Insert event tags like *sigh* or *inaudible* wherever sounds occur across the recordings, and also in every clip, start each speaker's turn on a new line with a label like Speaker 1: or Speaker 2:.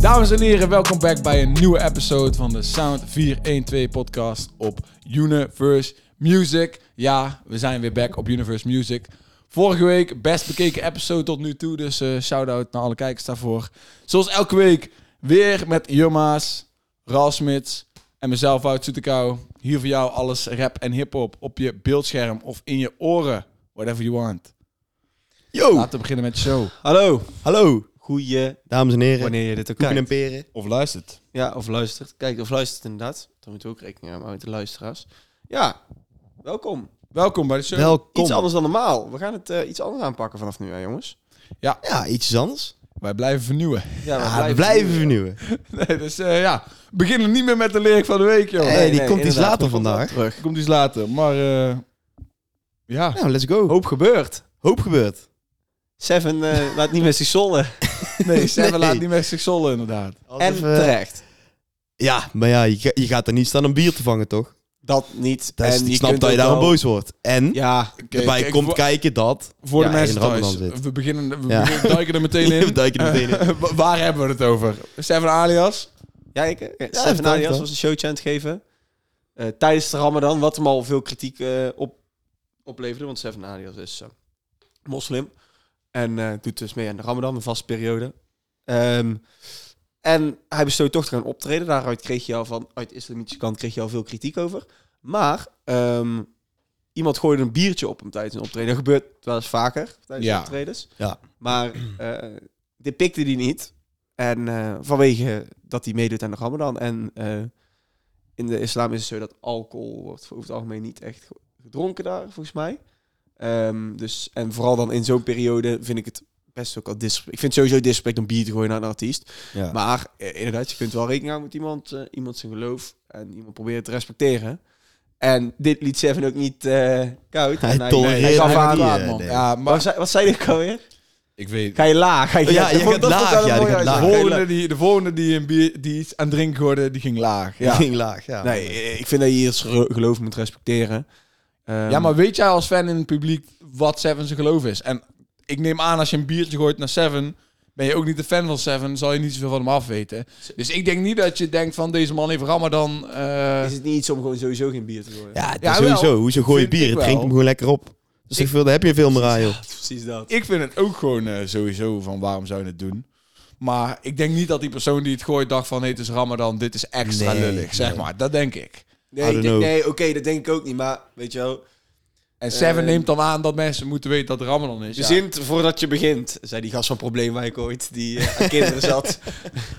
Speaker 1: Dames en heren, welkom back bij een nieuwe episode van de Sound 412 podcast op Universe Music. Ja, we zijn weer back op Universe Music. Vorige week best bekeken episode tot nu toe, dus eh shout-out naar alle kijkers daarvoor. Zoals elke week weer met Jumma's, Raal Smits en mezelf, Wout Soetekau. Hier voor jou alles rap en hiphop op je beeldscherm of in je oren, whatever you want.
Speaker 2: Yo!
Speaker 1: Laten we beginnen met de show.
Speaker 2: Hallo! Hallo! Ah, Goeie,
Speaker 3: Dames en heren,
Speaker 2: wanneer je dit ook
Speaker 3: koeken en
Speaker 2: kijkt.
Speaker 3: peren.
Speaker 1: Of luistert.
Speaker 2: Ja, of luistert. Kijk, of luistert inderdaad. Dan moeten we ook rekening houden met de luisteraars. Ja, welkom.
Speaker 1: Welkom bij de show.
Speaker 3: Welkom.
Speaker 2: Iets anders dan normaal. We gaan het eh, iets anders aanpakken vanaf nu, hè, jongens.
Speaker 3: Ja, iets anders.
Speaker 1: Wij blijven vernieuwen.
Speaker 2: Ja,
Speaker 3: Ja, Ah, we blijven, vernieuwen.
Speaker 1: *laughs* Nee, dus eh, ja, we beginnen niet meer met de leer van de week, joh.
Speaker 3: Hey, die komt iets
Speaker 2: inderdaad.
Speaker 3: later
Speaker 2: Die komt
Speaker 3: vandaag.
Speaker 2: wel Terug.
Speaker 1: Komt iets later, maar eh, ja.
Speaker 3: Nou, let's go. Hoop,
Speaker 2: Hoop gebeurd.
Speaker 3: gebeurd.
Speaker 2: Seven eh, laat niet met zich
Speaker 3: *laughs*
Speaker 2: zollen.
Speaker 1: *laughs* Nee, Seven
Speaker 3: Nee.
Speaker 1: laat niet meer zich zollen, inderdaad.
Speaker 2: En
Speaker 3: Alsof, eh,
Speaker 2: terecht.
Speaker 3: ja, maar ja, je, ga- je gaat er niet staan om bier te vangen, toch?
Speaker 2: Dat niet.
Speaker 3: Dat is,
Speaker 2: en
Speaker 3: ik
Speaker 2: je
Speaker 3: snap
Speaker 2: kunt
Speaker 3: dat je
Speaker 2: ook
Speaker 3: daarom
Speaker 2: wel-
Speaker 3: boos wordt. En
Speaker 2: Ja,
Speaker 1: Oké,
Speaker 3: erbij
Speaker 1: kijk,
Speaker 3: komt
Speaker 1: voor,
Speaker 3: kijken dat.
Speaker 1: voor de
Speaker 3: Ja,
Speaker 1: mensen
Speaker 3: in de
Speaker 1: thuis.
Speaker 3: Ramadan zit.
Speaker 1: We, beginnen, we
Speaker 3: Ja.
Speaker 1: beginnen- duiken er *laughs* meteen
Speaker 3: We
Speaker 1: in.
Speaker 3: duiken er meteen in.
Speaker 1: Eh, *laughs* wa- waar hebben we het over? Seven alias?
Speaker 2: Ja, ik, ja,
Speaker 3: vertel,
Speaker 2: Seven Arias
Speaker 3: vertel.
Speaker 2: was een showtje aan het geven. Eh, tijdens de Ramadan, wat hem al veel kritiek eh, op, opleverde. Want Seven Arias is eh, moslim. En eh, doet dus mee aan de Ramadan, een vaste periode. Ehm, en hij besloot toch te gaan optreden. Daaruit kreeg je al van, uit de islamitische kant kreeg je al veel kritiek over. Maar ehm, iemand gooide een biertje op hem tijdens een optreden. Dat gebeurt wel eens vaker tijdens
Speaker 1: Ja.
Speaker 2: optredens.
Speaker 3: Ja.
Speaker 2: Maar eh, dit pikte hij niet. En eh, vanwege dat hij meedoet aan de Ramadan. En eh, in de islam is het zo dat alcohol wordt over het algemeen niet echt gedronken daar, volgens mij. Ehm, dus, en vooral dan in zo'n periode vind ik het best ook al disrespect. Ik vind het sowieso disrespect om bier te gooien naar een artiest.
Speaker 3: Ja.
Speaker 2: Maar eh, inderdaad, je kunt wel rekening houden met iemand, eh, iemand zijn geloof en iemand proberen te respecteren. En dit liet Seven ook niet eh, koud.
Speaker 3: *laughs* Hij
Speaker 2: En hij
Speaker 3: tolereert
Speaker 2: hij gaf
Speaker 3: het
Speaker 2: aan.
Speaker 3: niet,
Speaker 2: Wat
Speaker 3: eh,
Speaker 2: zei-
Speaker 3: nee.
Speaker 1: Ja,
Speaker 2: Wat
Speaker 1: maar
Speaker 2: zei, wat zei ik alweer?
Speaker 1: ik weet...
Speaker 2: Ga je laag? Ga je,
Speaker 3: Oh Ja, je
Speaker 2: dat
Speaker 3: gaat
Speaker 2: dat
Speaker 3: laag,
Speaker 2: wel een
Speaker 3: ja, die
Speaker 2: mooie
Speaker 3: gaat
Speaker 1: De
Speaker 3: laag.
Speaker 2: uitspraak. Ga je
Speaker 1: volgende, die, de volgende die, een bier, die iets aan het drinken hoorde, die ging laag.
Speaker 3: *laughs*
Speaker 1: Ja.
Speaker 3: Ging laag, ja.
Speaker 2: Nee, eh, ik vind dat je je geloof moet respecteren. Ehm,
Speaker 1: ja, maar weet jij als fan in het publiek wat Seven zijn geloof is? En ik neem aan, als je een biertje gooit naar Seven, ben je ook niet de fan van Seven, zal je niet zoveel van hem afweten. Dus ik denk niet dat je denkt van deze man heeft Ramadan. eh
Speaker 2: is het niet iets om gewoon sowieso geen bier te gooien?
Speaker 3: Ja, het
Speaker 1: Ja,
Speaker 3: is
Speaker 1: wel.
Speaker 3: sowieso. Hoezo gooi je
Speaker 1: Vind ik
Speaker 3: bier?
Speaker 1: wel.
Speaker 3: Drink hem gewoon lekker op. Dus ik, daar heb je veel meer aan, joh.
Speaker 2: precies dat.
Speaker 1: ik vind het ook gewoon eh, sowieso van waarom zou je het doen? Maar ik denk niet dat die persoon die het gooit dacht van hey, het is Ramadan, dit is extra
Speaker 3: Nee,
Speaker 1: lullig, zeg
Speaker 3: nee.
Speaker 1: maar. Dat denk ik.
Speaker 3: I
Speaker 2: Nee,
Speaker 3: don't
Speaker 2: ik denk-
Speaker 3: know.
Speaker 2: nee oké, dat denk ik ook niet. Maar weet je wel,
Speaker 1: En Seven
Speaker 2: Eh,
Speaker 1: neemt dan aan dat mensen moeten weten dat het Ramadan is.
Speaker 2: je
Speaker 1: ja.
Speaker 2: zint voordat je begint, zei die gast van Probleem waar ik ooit, die eh, aan
Speaker 3: *laughs*
Speaker 2: kinderen zat.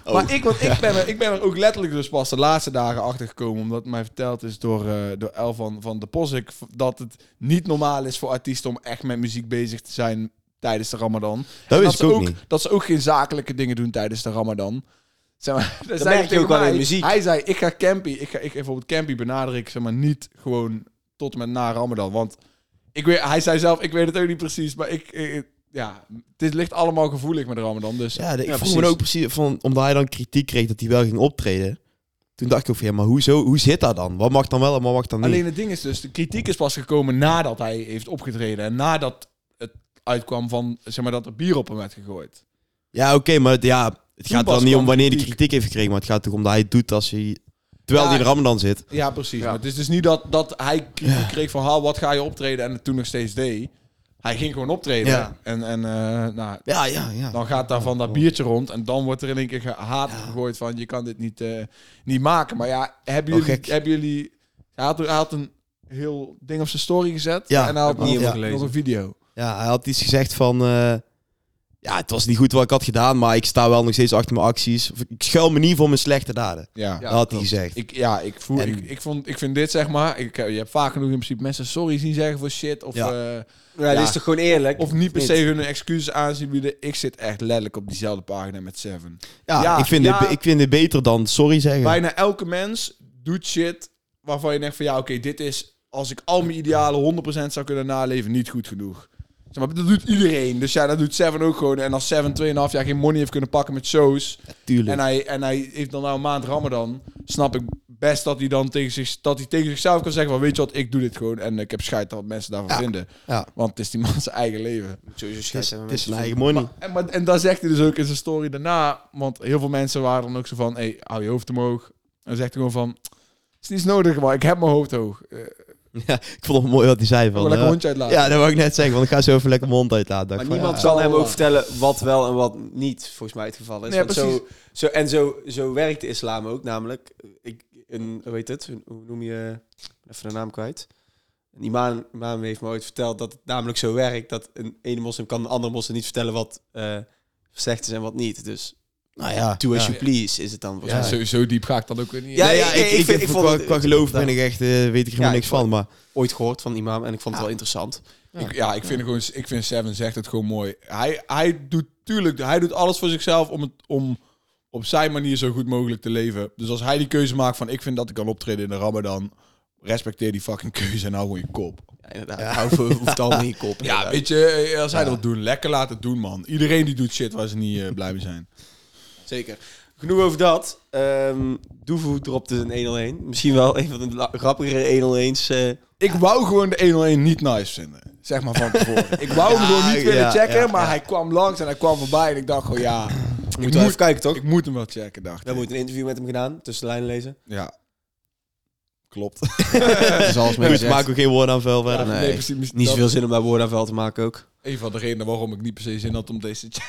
Speaker 2: Oh.
Speaker 1: Maar ik, want ik, ben er, ik ben er ook letterlijk dus pas de laatste dagen achter gekomen. Omdat het mij verteld is door, eh door El van, van de Posik. Dat het niet normaal is voor artiesten om echt met muziek bezig te zijn tijdens de Ramadan.
Speaker 2: Oh,
Speaker 3: Dat
Speaker 1: En
Speaker 3: wist ik
Speaker 1: ze
Speaker 3: ook niet.
Speaker 1: Dat ze ook geen zakelijke dingen doen tijdens de Ramadan. Zeg maar, *laughs* dat
Speaker 2: merk je ook wel in muziek.
Speaker 1: Hij zei: Ik ga campy. Ik ga ik, bijvoorbeeld campy benader ik zeg maar niet gewoon tot en met na Ramadan. Want ik weet, hij zei zelf: Ik weet het ook niet precies. Maar ik. ik- ja, het ligt allemaal gevoelig met Ramadan. Dus
Speaker 3: Ja, de- ik
Speaker 2: Ja,
Speaker 3: vroeg me
Speaker 2: precies.
Speaker 3: ook precies van, omdat hij dan kritiek kreeg dat hij wel ging optreden. Toen dacht ik ook van, ja, maar hoezo, hoe zit dat dan? Wat mag dan wel en wat mag dan niet?
Speaker 1: Alleen het ding is dus, de kritiek is pas gekomen nadat hij heeft opgetreden. En nadat het uitkwam van, zeg maar, dat er bier op hem werd gegooid.
Speaker 3: Ja, oké, maar het- ja, het
Speaker 1: Toen
Speaker 3: gaat er
Speaker 1: pas
Speaker 3: dan niet om
Speaker 1: kwam
Speaker 3: wanneer hij
Speaker 1: kritiek.
Speaker 3: kritiek heeft gekregen, maar het gaat toch om dat hij het doet als hij... Terwijl
Speaker 1: Ja.
Speaker 3: hij in de Ramadan zit.
Speaker 1: Ja, precies.
Speaker 2: Ja.
Speaker 1: Maar het is dus niet dat, dat hij kritiek kreeg van, ha, wat ga je optreden? En het toen nog steeds deed. Hij ging gewoon optreden.
Speaker 3: Ja.
Speaker 1: En, en eh, nou,
Speaker 3: Ja, ja, ja.
Speaker 1: dan gaat daarvan dat biertje rond. En dan wordt er in één keer gehaat gegooid van, je kan dit niet, eh, niet maken. Maar ja, hebben
Speaker 3: Oh,
Speaker 1: jullie...
Speaker 3: gek.
Speaker 1: hebben jullie hij, had, hij had een heel ding op zijn story gezet.
Speaker 3: Ja,
Speaker 1: en hij had
Speaker 2: heb ik niet
Speaker 1: nog,
Speaker 2: helemaal
Speaker 1: nog een video.
Speaker 3: Ja, hij had iets gezegd van... eh, ja, het was niet goed wat ik had gedaan, maar ik sta wel nog steeds achter mijn acties. Of ik schuil me niet voor mijn slechte daden.
Speaker 1: Ja.
Speaker 3: dat had hij
Speaker 2: klopt.
Speaker 3: gezegd.
Speaker 1: Ik, ja, ik, voel,
Speaker 3: En-
Speaker 1: ik, ik, vond, ik vind dit zeg maar. Ik, eh, je hebt vaak genoeg in principe mensen sorry zien zeggen voor shit. Of,
Speaker 3: Ja.
Speaker 1: eh,
Speaker 2: Ja,
Speaker 1: Ja.
Speaker 2: dat is toch gewoon eerlijk?
Speaker 1: of niet per se hun excuses aanzien bieden. Ik zit echt letterlijk op diezelfde pagina met Seven.
Speaker 3: Ja,
Speaker 1: Ja,
Speaker 3: ik, vind
Speaker 1: ja.
Speaker 3: Dit, be- ik vind dit beter dan sorry zeggen.
Speaker 1: Bijna elke mens doet shit waarvan je denkt van ja, oké, dit is als ik al mijn idealen 100% zou kunnen naleven, niet goed genoeg. Zeg maar, dat doet iedereen. Dus ja, dat doet Seven ook gewoon. En als Seven 2,5 jaar geen money heeft kunnen pakken met shows.
Speaker 3: Tuurlijk.
Speaker 1: En hij, en hij heeft dan nou een maand Ramadan. Snap ik best dat hij dan tegen, zich, dat hij tegen zichzelf kan zeggen van... Weet je wat, ik doe dit gewoon en ik heb scheid dat mensen daarvan
Speaker 3: Ja.
Speaker 1: vinden.
Speaker 3: Ja.
Speaker 1: Want het is die man zijn *laughs* eigen leven.
Speaker 2: Moet sowieso
Speaker 3: Het is,
Speaker 2: scheiden.
Speaker 3: het is zijn eigen money.
Speaker 1: En, maar, en dat zegt hij dus ook in zijn story daarna. Want heel veel mensen waren dan ook zo van... hey, hou je hoofd omhoog. En dan zegt hij gewoon van... Het is niets nodig, maar ik heb mijn hoofd hoog. Eh, ik
Speaker 3: *laughs* Ja, ik vond het mooi wat hij zei
Speaker 1: wil
Speaker 3: van...
Speaker 1: lekker
Speaker 3: eh,
Speaker 1: een hondje uitlaten.
Speaker 3: ja, dat wou ik net zeggen, want ik ga zo even lekker mijn hond uitlaten. dacht
Speaker 2: Maar
Speaker 3: ik van,
Speaker 2: niemand
Speaker 3: ja.
Speaker 2: zal hem
Speaker 1: Ja.
Speaker 2: ook vertellen wat wel en wat niet, volgens mij het geval is.
Speaker 1: Nee,
Speaker 2: Want zo, zo, en zo, zo werkt de islam ook, namelijk, eh, ik, een, hoe heet het, Een- hoe noem je, even de naam kwijt. Een imam, imam heeft me ooit verteld dat het namelijk zo werkt, dat een ene moslim kan een andere moslim niet vertellen wat eh slecht is en wat niet. Dus
Speaker 3: Nou ja.
Speaker 2: do as
Speaker 3: ja.
Speaker 2: you please is het dan volgens
Speaker 1: Ja,
Speaker 2: mij.
Speaker 1: zo, zo diep ga ik dan ook weer niet.
Speaker 2: Ja,
Speaker 1: in.
Speaker 3: Nee,
Speaker 2: ik-
Speaker 3: ja, ik,
Speaker 2: ik
Speaker 3: ik,
Speaker 2: vind-
Speaker 3: heb
Speaker 2: ik
Speaker 3: voor
Speaker 2: vond
Speaker 3: qua,
Speaker 2: het-
Speaker 3: qua geloof ben
Speaker 2: Ja.
Speaker 3: ik echt, eh, weet ik helemaal
Speaker 2: Ja,
Speaker 3: niks
Speaker 2: ik
Speaker 3: van. Maar
Speaker 2: Ooit gehoord van een imam en ik vond het wel interessant.
Speaker 1: Ik, ja, ik vind, Gewoon, ik vind Seven zegt het gewoon mooi. Hij, hij doet tuurlijk, hij doet alles voor zichzelf om, het, om op zijn manier zo goed mogelijk te leven. Dus als hij die keuze maakt van ik vind dat ik kan optreden in de Ramadan, respecteer die fucking keuze en hou gewoon je kop.
Speaker 2: Ja, inderdaad, hou voor- hoeft al in je *laughs*
Speaker 1: Ja,
Speaker 2: kop. inderdaad.
Speaker 1: weet je, eh, als hij dat doet, lekker laten doen man. Iedereen die doet shit waar ze niet eh, blij mee zijn.
Speaker 2: Zeker. Genoeg over dat. Ehm Doevoe dropte een 1-0-1. Misschien wel een van de la- grappigere 1-0-1's. eh.
Speaker 1: Ik wou gewoon de 101 niet nice vinden. Zeg maar van tevoren. ik wou hem
Speaker 3: Ja,
Speaker 1: gewoon niet
Speaker 3: ja,
Speaker 1: willen checken,
Speaker 3: ja,
Speaker 1: maar
Speaker 3: ja.
Speaker 1: hij kwam langs en hij kwam voorbij en ik dacht gewoon ja,
Speaker 2: moet
Speaker 1: ik,
Speaker 2: wel
Speaker 1: moet,
Speaker 2: even kijken, toch?
Speaker 1: ik moet hem wel checken, dacht
Speaker 2: We
Speaker 1: ik.
Speaker 2: hebben ooit een interview met hem gedaan, tussen de lijnen lezen.
Speaker 1: Ja. *laughs* Klopt. Zoals
Speaker 3: goed, ik maak ook geen woorden aan vuil verder.
Speaker 2: nee,
Speaker 1: precies, misschien
Speaker 2: Niet
Speaker 1: dat-
Speaker 2: zoveel zin om bij woorden aan vuil te maken ook.
Speaker 1: Een van de redenen waarom ik niet per se zin had om deze *laughs* te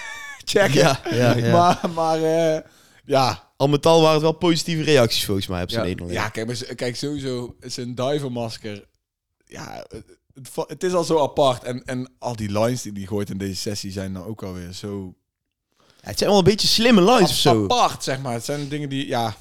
Speaker 1: checken.
Speaker 3: Ja, ja, ja.
Speaker 1: Maar, maar eh, ja.
Speaker 3: Al met al waren het wel positieve reacties volgens mij op zijn
Speaker 2: Ja.
Speaker 3: Nederland.
Speaker 1: Oh, ja, kijk, maar, z- kijk sowieso, zijn duivenmasker. Ja, het- het, va- het is al zo apart. En, en al die lines die die gooit in deze sessie zijn dan ook alweer zo
Speaker 3: Ja, het zijn wel een beetje slimme lines of zo.
Speaker 1: apart, zeg maar. Het zijn dingen die, ja...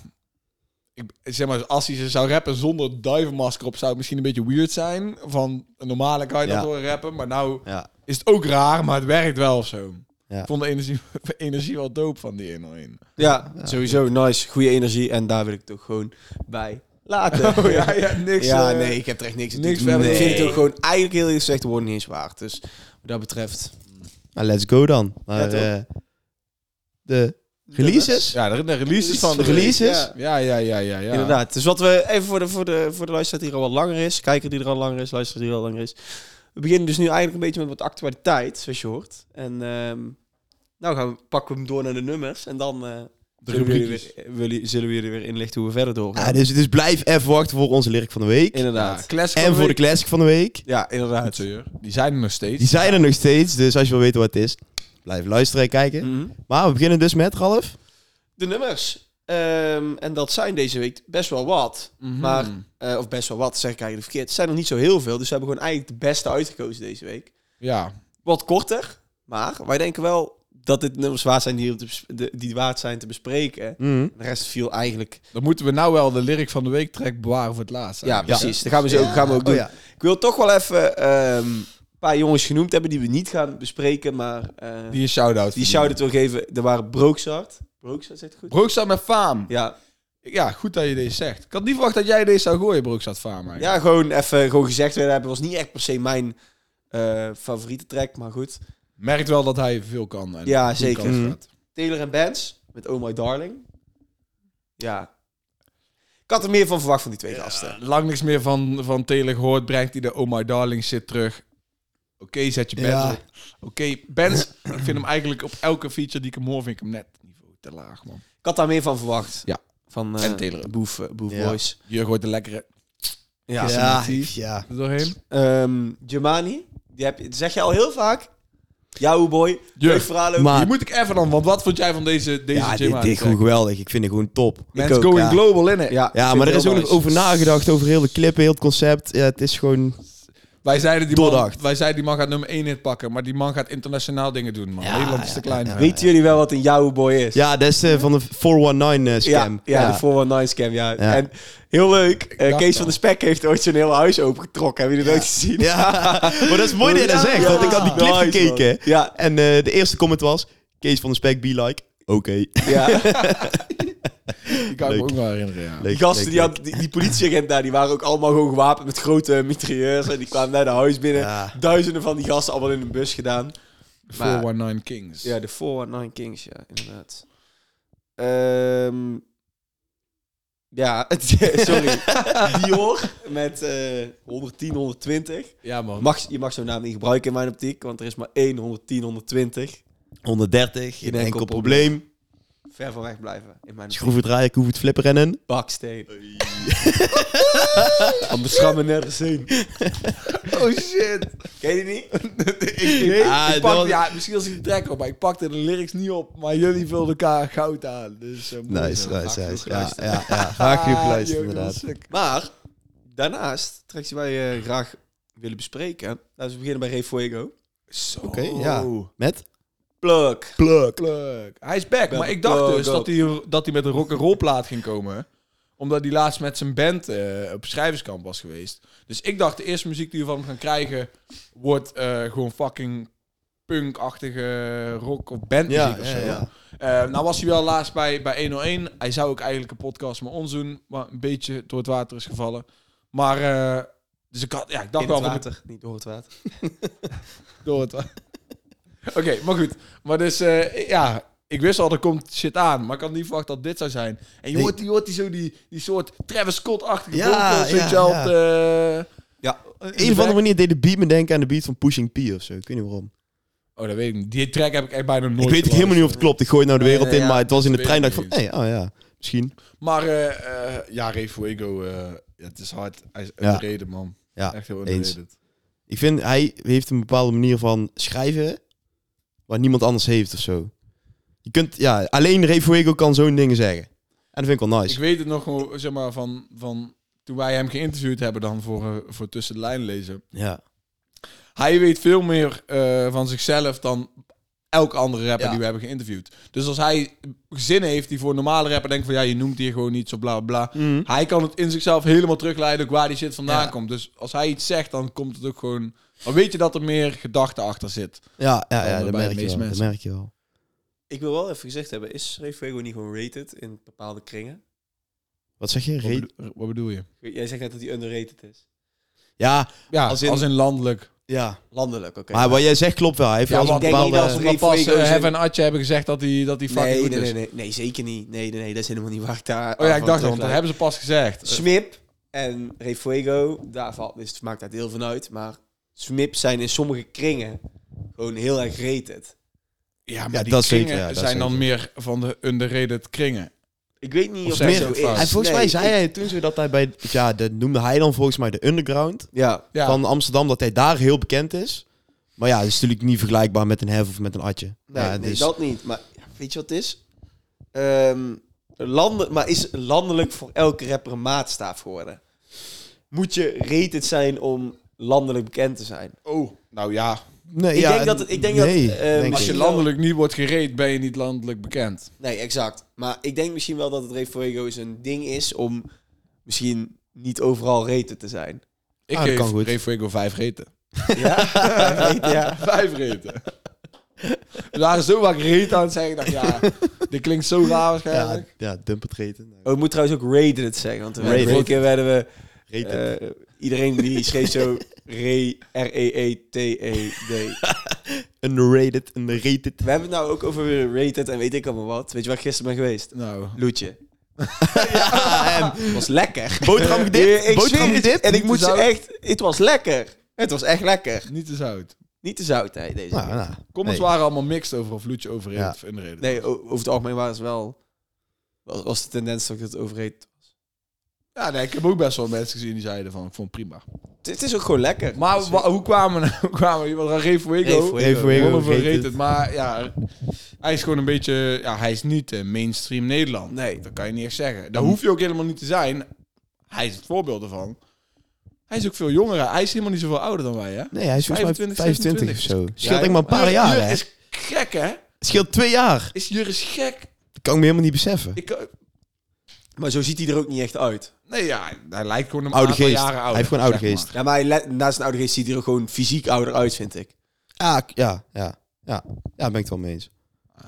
Speaker 1: Ik, zeg maar, als hij ze zou rappen zonder duivenmasker op, zou het misschien een beetje weird zijn. Van een normale kan je dat
Speaker 3: Ja.
Speaker 1: horen rappen, maar nou...
Speaker 3: Ja.
Speaker 1: is het ook raar, maar het werkt wel of zo.
Speaker 3: Ja.
Speaker 1: Ik vond de energie, *laughs* de energie wel doop van die
Speaker 2: *laughs*
Speaker 1: 101.
Speaker 2: Ja, sowieso. Nice. Goede energie. En daar wil ik toch gewoon bij *laughs* laten.
Speaker 1: Oh ja, ja, niks.
Speaker 2: Ja,
Speaker 1: eh,
Speaker 2: nee, ik heb er echt niks aan
Speaker 1: niks
Speaker 2: te doen.
Speaker 1: verder.
Speaker 2: Ik vind het
Speaker 1: Nee.
Speaker 2: ook gewoon eigenlijk heel eerlijk gezegd de woorden niet eens waard. Dus wat dat betreft...
Speaker 3: Nou, let's go dan. Naar,
Speaker 2: toch?
Speaker 3: eh, de releases.
Speaker 1: Ja, de, de releases van
Speaker 3: De releases.
Speaker 2: Ja.
Speaker 1: Ja, ja, ja, ja, ja.
Speaker 2: Inderdaad. Dus wat we even voor de, voor de, voor de luisteraar die er al wat langer is, kijker die er al langer is, luisteraar die er al langer is. We beginnen dus nu eigenlijk een beetje met wat actualiteit, zoals je hoort. En ehm, nou gaan we, pakken we hem door naar de nummers en dan eh,
Speaker 1: De
Speaker 2: zullen, we jullie
Speaker 1: rubriekjes.
Speaker 2: weer, willen- zullen we jullie weer inlichten hoe we verder doorgaan.
Speaker 3: Ja, dus, dus blijf even wachten voor onze lyric van de week.
Speaker 1: Ja,
Speaker 2: Inderdaad.
Speaker 1: classic
Speaker 3: En voor de classic van de week.
Speaker 2: Ja,
Speaker 1: Met
Speaker 2: inderdaad.
Speaker 1: zeur. Die zijn er nog steeds.
Speaker 3: Die zijn er nog steeds, dus als je wil weten wat het is, blijf luisteren en kijken.
Speaker 2: Mhm.
Speaker 3: Maar we beginnen dus met, Ralf.
Speaker 2: De nummers. Ehm, en dat zijn deze week best wel wat.
Speaker 1: Mhm.
Speaker 2: Maar, eh, of best wel wat, zeg ik eigenlijk verkeerd. Het zijn er niet zo heel veel, dus we hebben gewoon eigenlijk de beste uitgekozen deze week.
Speaker 1: Ja.
Speaker 2: wat korter. Maar wij denken wel dat dit nummers waard zijn die, te bes- de- die waard zijn te bespreken.
Speaker 3: Mm.
Speaker 2: De rest viel eigenlijk.
Speaker 1: Dan moeten we nou wel de lyric van de week track bewaren voor het laatst.
Speaker 2: Ja,
Speaker 1: eigenlijk.
Speaker 2: precies. Dat gaan we, zo, gaan we ook doen.
Speaker 3: Oh, ja.
Speaker 2: Ik wil toch wel even ehm, een paar jongens genoemd hebben die we niet gaan bespreken. Maar eh,
Speaker 1: Die een shout-out.
Speaker 2: die
Speaker 1: verdienen.
Speaker 2: shout-out wil geven. Er waren Brookzart. Brookzart zit goed.
Speaker 1: Broekstad met faam.
Speaker 2: Ja,
Speaker 1: Ja, goed dat je deze zegt. Ik had niet verwacht dat jij deze zou gooien, Broekstad faam. eigenlijk.
Speaker 2: ja, gewoon even gewoon gezegd willen hebben. Was niet echt per se mijn eh, favoriete track, maar goed.
Speaker 1: Merkt wel dat hij veel kan. En
Speaker 2: Ja,
Speaker 1: goed
Speaker 2: zeker.
Speaker 1: kan
Speaker 3: Mhm.
Speaker 1: gaat.
Speaker 2: Taylor en Benz met Oh My Darling. Ja. Ik had er meer van verwacht van die twee gasten.
Speaker 1: Lang niks meer van, van Taylor gehoord. Brengt hij de Oh My Darling shit terug. Oké, zet je Benz
Speaker 3: Ja.
Speaker 1: op. Oké, Benz. ik vind hem eigenlijk op elke feature die ik hem hoor, vind ik hem net niveau te laag, man.
Speaker 2: Ik had daar meer van verwacht.
Speaker 1: Ja.
Speaker 2: Van eh,
Speaker 1: En Taylor.
Speaker 2: Boef, eh, Boef
Speaker 3: Ja.
Speaker 2: Boys.
Speaker 1: Je gooit de lekkere
Speaker 2: Ja.
Speaker 3: Ja, ja.
Speaker 1: er doorheen.
Speaker 2: Ehm, Germani, die heb je, dat zeg je al heel vaak. Jouw boy. Leuk verhaal over.
Speaker 3: Maar-
Speaker 1: Die moet ik even dan, want wat vond jij van deze, deze
Speaker 3: Ah. Ja, dit,
Speaker 1: Jim
Speaker 3: dit gewoon geweldig. Ik vind het gewoon top.
Speaker 1: Men's
Speaker 2: ook,
Speaker 1: going
Speaker 2: ja.
Speaker 1: global, innit?
Speaker 2: ja,
Speaker 3: Ja,
Speaker 2: vind
Speaker 3: maar er
Speaker 2: ik
Speaker 3: is
Speaker 2: heel
Speaker 3: ook nog
Speaker 2: nice.
Speaker 3: over nagedacht, over heel de clip, heel het concept. Ja, het is gewoon...
Speaker 1: Wij, zeiden die man,
Speaker 3: Doordacht.
Speaker 1: wij zeiden die man gaat nummer 1 hit pakken, maar die man gaat internationaal dingen doen, man.
Speaker 3: Ja,
Speaker 1: Nederland is te
Speaker 3: ja,
Speaker 1: klein.
Speaker 3: ja,
Speaker 1: voor.
Speaker 2: Weten jullie wel wat een jouw boy is?
Speaker 3: Ja, dat is eh, van de 419-scam.
Speaker 2: Ja, ja, de 419 scam, ja.
Speaker 3: Ja.
Speaker 2: En heel leuk, eh,
Speaker 1: dacht
Speaker 2: Kees
Speaker 1: al.
Speaker 2: van de Spek heeft ooit zijn hele huis opengetrokken. Hebben jullie dat ooit gezien? *laughs*
Speaker 3: Ja, *laughs* maar dat is mooi dat je dat
Speaker 2: Ja.
Speaker 3: zegt, want ik had die clip
Speaker 2: Nice, man.
Speaker 3: gekeken.
Speaker 2: Ja,
Speaker 3: En eh, de eerste comment was, Kees van de Spek, be like, oké. *laughs*
Speaker 2: ja.
Speaker 1: Die kan ik me
Speaker 3: Leuk.
Speaker 1: ook wel herinneren, ja.
Speaker 3: Leuk,
Speaker 2: Die gasten,
Speaker 3: leuk,
Speaker 2: die,
Speaker 3: leuk.
Speaker 2: had, die, die politieagenten daar, die waren ook allemaal gewoon gewapend met grote mitrailleurs. En die kwamen naar de huis binnen.
Speaker 3: Ja.
Speaker 2: Duizenden van die gasten allemaal in een bus gedaan. Maar-
Speaker 1: 419 Kings.
Speaker 2: Ja, de 419 Kings, ja, inderdaad. Ehm Ja, *laughs* sorry. Dior met eh 110, 120.
Speaker 1: Ja, man.
Speaker 2: Mag, je mag zo'n naam niet gebruiken in mijn optiek, want er is maar één 110, 120.
Speaker 3: 130, geen
Speaker 2: Geen enkel
Speaker 3: enkel probleem.
Speaker 2: Ver van weg blijven in mijn
Speaker 3: Schroevendraaier, koe het flipperen en...
Speaker 2: baksteen. Van beschammen nergens heen.
Speaker 1: Oh shit.
Speaker 2: Ken je die niet?
Speaker 1: Nee,
Speaker 3: Ah,
Speaker 1: ik pak,
Speaker 3: dat was-
Speaker 1: ja, misschien als ik de track op, maar ik pakte de lyrics niet op. Maar jullie vulden elkaar goud aan. Dus, eh, mooi
Speaker 3: Nice,
Speaker 1: zo.
Speaker 3: nice,
Speaker 1: Graag
Speaker 3: nice.
Speaker 1: genoeg
Speaker 3: Ja,
Speaker 1: geluisterd.
Speaker 3: ja, ja. Graag genoeg
Speaker 1: Ah,
Speaker 3: geluisterd,
Speaker 1: joh, dat
Speaker 3: inderdaad.
Speaker 1: was sick.
Speaker 2: Maar daarnaast, tracks die wij eh, graag willen bespreken. Laten we beginnen bij Ray Fuego.
Speaker 1: Zo.
Speaker 3: Oké, ja. Met?
Speaker 2: Pluk.
Speaker 3: Pluk.
Speaker 1: Pluk. Hij is back,
Speaker 2: Ben
Speaker 1: maar ik dacht
Speaker 2: pluk
Speaker 1: dus
Speaker 2: op.
Speaker 1: dat hij, dat hij met een rock'n'roll plaat ging komen. Omdat hij laatst met zijn band eh, op schrijverskamp was geweest. Dus ik dacht, de eerste muziek die we van hem gaan krijgen... wordt eh, gewoon fucking punkachtige rock of bandmuziek
Speaker 3: Ja,
Speaker 1: of
Speaker 3: ja,
Speaker 1: zo.
Speaker 3: ja.
Speaker 1: Eh, nou was hij wel laatst bij, bij 101. Hij zou ook eigenlijk een podcast met ons doen... maar een beetje door het water is gevallen. Maar... eh, dus ik, had, ja, ik dacht
Speaker 2: In
Speaker 1: wel...
Speaker 2: het
Speaker 1: van de-
Speaker 2: water, niet door het water.
Speaker 1: door het. Oké, *laughs* maar goed. Maar dus, eh, ja, ik wist al, er komt shit aan. Maar ik had niet verwacht dat dit zou zijn. En je
Speaker 3: Nee.
Speaker 1: hoort, die, hoort die zo die, die soort Travis Scott-achtige
Speaker 3: Ja,
Speaker 1: vocals, weet
Speaker 3: ja,
Speaker 1: je wel,
Speaker 3: ja.
Speaker 1: op de-
Speaker 2: Ja,
Speaker 1: in de
Speaker 3: Een of
Speaker 1: back.
Speaker 3: andere manier deed de beat me denken aan de beat van Pushing P of zo. Ik weet niet waarom.
Speaker 1: Oh, dat weet ik niet. Die track heb ik echt bijna nooit
Speaker 3: ik weet ook
Speaker 1: geluisterd.
Speaker 3: helemaal niet of het klopt. Ik gooi het nou de wereld
Speaker 2: Nee, nee,
Speaker 3: in,
Speaker 2: ja.
Speaker 3: maar het was in de
Speaker 1: Weet
Speaker 3: trein.
Speaker 1: ik
Speaker 3: dacht ik van,
Speaker 1: niet
Speaker 3: hé, hey, oh ja, misschien.
Speaker 1: Maar eh, eh, ja, Ray Fuego, eh, ja, het is hard. Hij is
Speaker 3: Ja.
Speaker 1: underrated, man.
Speaker 3: Ja,
Speaker 1: echt heel
Speaker 3: eens.
Speaker 1: underrated.
Speaker 3: Ik vind, hij heeft een bepaalde manier van schrijven waar niemand anders heeft of zo. Je kunt, ja, alleen Ray Fuego kan zo'n dingen zeggen. En dat vind ik wel nice.
Speaker 1: Ik weet het nog gewoon, zeg maar, van, van toen wij hem geïnterviewd hebben dan voor, eh, voor Tussen de Lijn lezen.
Speaker 3: Ja.
Speaker 1: Hij weet veel meer eh, van zichzelf dan elke andere rapper
Speaker 3: Ja.
Speaker 1: die we hebben geïnterviewd. Dus als hij gezinnen heeft die voor een normale rapper denkt van ja, je noemt hier gewoon niet zo bla bla. bla.
Speaker 3: Mhm.
Speaker 1: Hij kan het in zichzelf helemaal terugleiden ook waar die shit vandaan
Speaker 3: Ja.
Speaker 1: komt. Dus als hij iets zegt, dan komt het ook gewoon. Dan weet je dat er meer gedachte achter zit.
Speaker 3: Ja, ja,
Speaker 1: Dan
Speaker 3: ja,
Speaker 1: bij
Speaker 3: dat,
Speaker 1: de
Speaker 3: merk je
Speaker 1: meeste
Speaker 3: wel, dat
Speaker 1: mensen.
Speaker 3: merk je wel.
Speaker 2: ik wil wel even gezegd hebben, is Ray Fuego niet gewoon rated in bepaalde kringen?
Speaker 3: Wat zeg je?
Speaker 1: Wat,
Speaker 3: Ray-
Speaker 1: bedo- wat bedoel je?
Speaker 2: Jij zegt net dat hij underrated is.
Speaker 3: Ja,
Speaker 1: Ja, als
Speaker 3: Als
Speaker 1: in,
Speaker 3: in-
Speaker 1: landelijk.
Speaker 3: ja.
Speaker 2: Landelijk, oké.
Speaker 3: Maar wat jij zegt klopt wel. Hij heeft
Speaker 1: Ja,
Speaker 3: wel eens een
Speaker 1: want ik
Speaker 2: denk niet
Speaker 3: bepaalde...
Speaker 2: dat
Speaker 1: Als we
Speaker 2: Ray
Speaker 1: pas
Speaker 2: Fuego
Speaker 1: eh,
Speaker 2: is
Speaker 1: Hef en
Speaker 2: een-
Speaker 1: Atje hebben gezegd dat hij dat die fucking
Speaker 2: nee,
Speaker 1: goed
Speaker 2: nee,
Speaker 1: is.
Speaker 2: nee, nee, nee, zeker niet. Nee, nee, nee, dat is helemaal niet waar dus. ik daar
Speaker 1: Oh ja,
Speaker 2: aan
Speaker 1: ik
Speaker 2: van
Speaker 1: dacht al, want dat
Speaker 2: terugleid.
Speaker 1: hebben ze pas gezegd.
Speaker 2: Smip en Refuego, daar valt, dus het maakt daar deel van uit. Maar Smip zijn in sommige kringen gewoon heel erg rated.
Speaker 1: Ja, maar
Speaker 3: Ja,
Speaker 1: die
Speaker 3: dat zeker,
Speaker 1: kringen
Speaker 3: ja, dat
Speaker 1: zijn dan
Speaker 3: zeker.
Speaker 1: meer van de underrated kringen.
Speaker 2: Ik weet niet
Speaker 1: Of
Speaker 2: of,
Speaker 1: zijn
Speaker 2: dat
Speaker 1: ze
Speaker 2: zo
Speaker 1: ook
Speaker 2: is.
Speaker 1: fout?
Speaker 3: En volgens
Speaker 2: Nee,
Speaker 3: mij zei
Speaker 2: ik-
Speaker 3: hij toen zo dat hij bij... Ja, dat noemde hij dan volgens mij de underground
Speaker 2: Ja,
Speaker 1: Ja.
Speaker 3: van Amsterdam. Dat hij daar heel bekend is. Maar ja, dat is natuurlijk niet vergelijkbaar met een hef of met een atje.
Speaker 2: nee,
Speaker 3: ja,
Speaker 2: nee,
Speaker 3: dus-
Speaker 2: dat niet. Maar ja, weet je wat het is? Ehm, landen, maar is landelijk voor elke rapper een maatstaaf geworden? Moet je rated zijn om landelijk bekend te zijn?
Speaker 1: Oh, nou ja.
Speaker 3: Nee,
Speaker 2: Ik
Speaker 3: ja,
Speaker 2: denk dat het- ik denk dat,
Speaker 3: nee,
Speaker 2: eh,
Speaker 3: denk
Speaker 1: Als
Speaker 3: ik
Speaker 1: je
Speaker 2: Misschien
Speaker 3: niet.
Speaker 2: wel.
Speaker 1: landelijk niet wordt gereed, ben je niet landelijk bekend.
Speaker 2: Nee, exact. Maar ik denk misschien wel dat het Refuego een ding is om misschien niet overal rated te zijn.
Speaker 1: Ik
Speaker 3: Ah, dat kan
Speaker 1: geef
Speaker 3: goed.
Speaker 1: Ray Fuego vijf reten.
Speaker 2: Ja, *laughs* ja.
Speaker 1: *laughs* Vijf reten. We waren zo vaak reet aan het zeggen. Ik dacht,
Speaker 3: *laughs*
Speaker 1: ja, dit klinkt zo raar
Speaker 3: ja,
Speaker 1: waarschijnlijk.
Speaker 3: ja, dump het reten.
Speaker 2: Oh, ik moet trouwens ook rated zeggen, want de
Speaker 3: Rated.
Speaker 2: vorige keer werden we...
Speaker 3: Reten.
Speaker 2: eh, iedereen die schreef zo E re, R-E-E-T-E-D.
Speaker 3: Underrated, underrated.
Speaker 2: E We hebben het nou ook over rated en weet ik allemaal wat. Weet je waar ik gisteren ben geweest?
Speaker 1: Nou,
Speaker 3: *laughs*
Speaker 2: Loetje. Het was lekker.
Speaker 3: Boterham
Speaker 2: Eh,
Speaker 3: gedipt,
Speaker 2: ik
Speaker 3: boterham
Speaker 2: zweer het,
Speaker 3: gedipt.
Speaker 2: En ik
Speaker 1: Niet
Speaker 2: moet
Speaker 1: te
Speaker 2: ze
Speaker 1: zout.
Speaker 2: echt... Het was lekker. Het was echt lekker.
Speaker 1: niet te zout.
Speaker 2: Niet te zout, hè, deze
Speaker 3: Nou,
Speaker 2: keer.
Speaker 3: nou.
Speaker 1: Comments
Speaker 3: Hey.
Speaker 1: waren allemaal mixed over of Loetje overreed
Speaker 3: Ja.
Speaker 1: of underrated.
Speaker 2: Nee, o- over het algemeen waren ze wel... Was, was de tendens dat ik het overreed.
Speaker 1: Ja, nee, ik heb ook best wel mensen gezien die zeiden van, ik vond het prima.
Speaker 2: Het, het is ook gewoon lekker.
Speaker 1: Maar
Speaker 2: Dus,
Speaker 1: wa- hoe kwamen *laughs* we? Hoe kwamen we? Want Ray
Speaker 2: Ray
Speaker 1: Fuego,
Speaker 2: Fuego.
Speaker 3: Ray Fuego,
Speaker 1: Fuego
Speaker 3: rated.
Speaker 1: het. Maar ja, hij is gewoon een beetje... Ja, hij is niet eh, mainstream Nederland.
Speaker 2: Nee.
Speaker 1: Dat kan je niet echt zeggen. Daar hoef je ook helemaal niet te zijn. Hij is het voorbeeld ervan. Hij is ook veel jonger. Hij is helemaal niet zoveel ouder dan wij, hè?
Speaker 3: Nee, hij is volgens mij
Speaker 1: 25,
Speaker 3: 25 of zo. Scheelt
Speaker 2: Ja,
Speaker 3: denk ik maar een paar
Speaker 1: Jur-
Speaker 3: jaar,
Speaker 1: Jur
Speaker 3: hè.
Speaker 1: is gek, hè?
Speaker 3: Scheelt twee jaar.
Speaker 1: Is Jur is gek.
Speaker 3: Dat kan ik me helemaal niet beseffen.
Speaker 1: Ik, kan-
Speaker 2: maar zo ziet hij er ook niet echt uit.
Speaker 1: nee, ja, hij lijkt gewoon een
Speaker 3: Oude
Speaker 1: aantal
Speaker 3: geest.
Speaker 1: jaren ouder.
Speaker 3: Hij heeft gewoon oude
Speaker 1: zeg maar.
Speaker 3: geest.
Speaker 2: Ja, maar hij le- naast een oude geest ziet hij er gewoon fysiek ouder uit, vind ik.
Speaker 3: Ah, k- ja, ja, ja. Ja, ben ik het wel mee eens.
Speaker 1: Ah,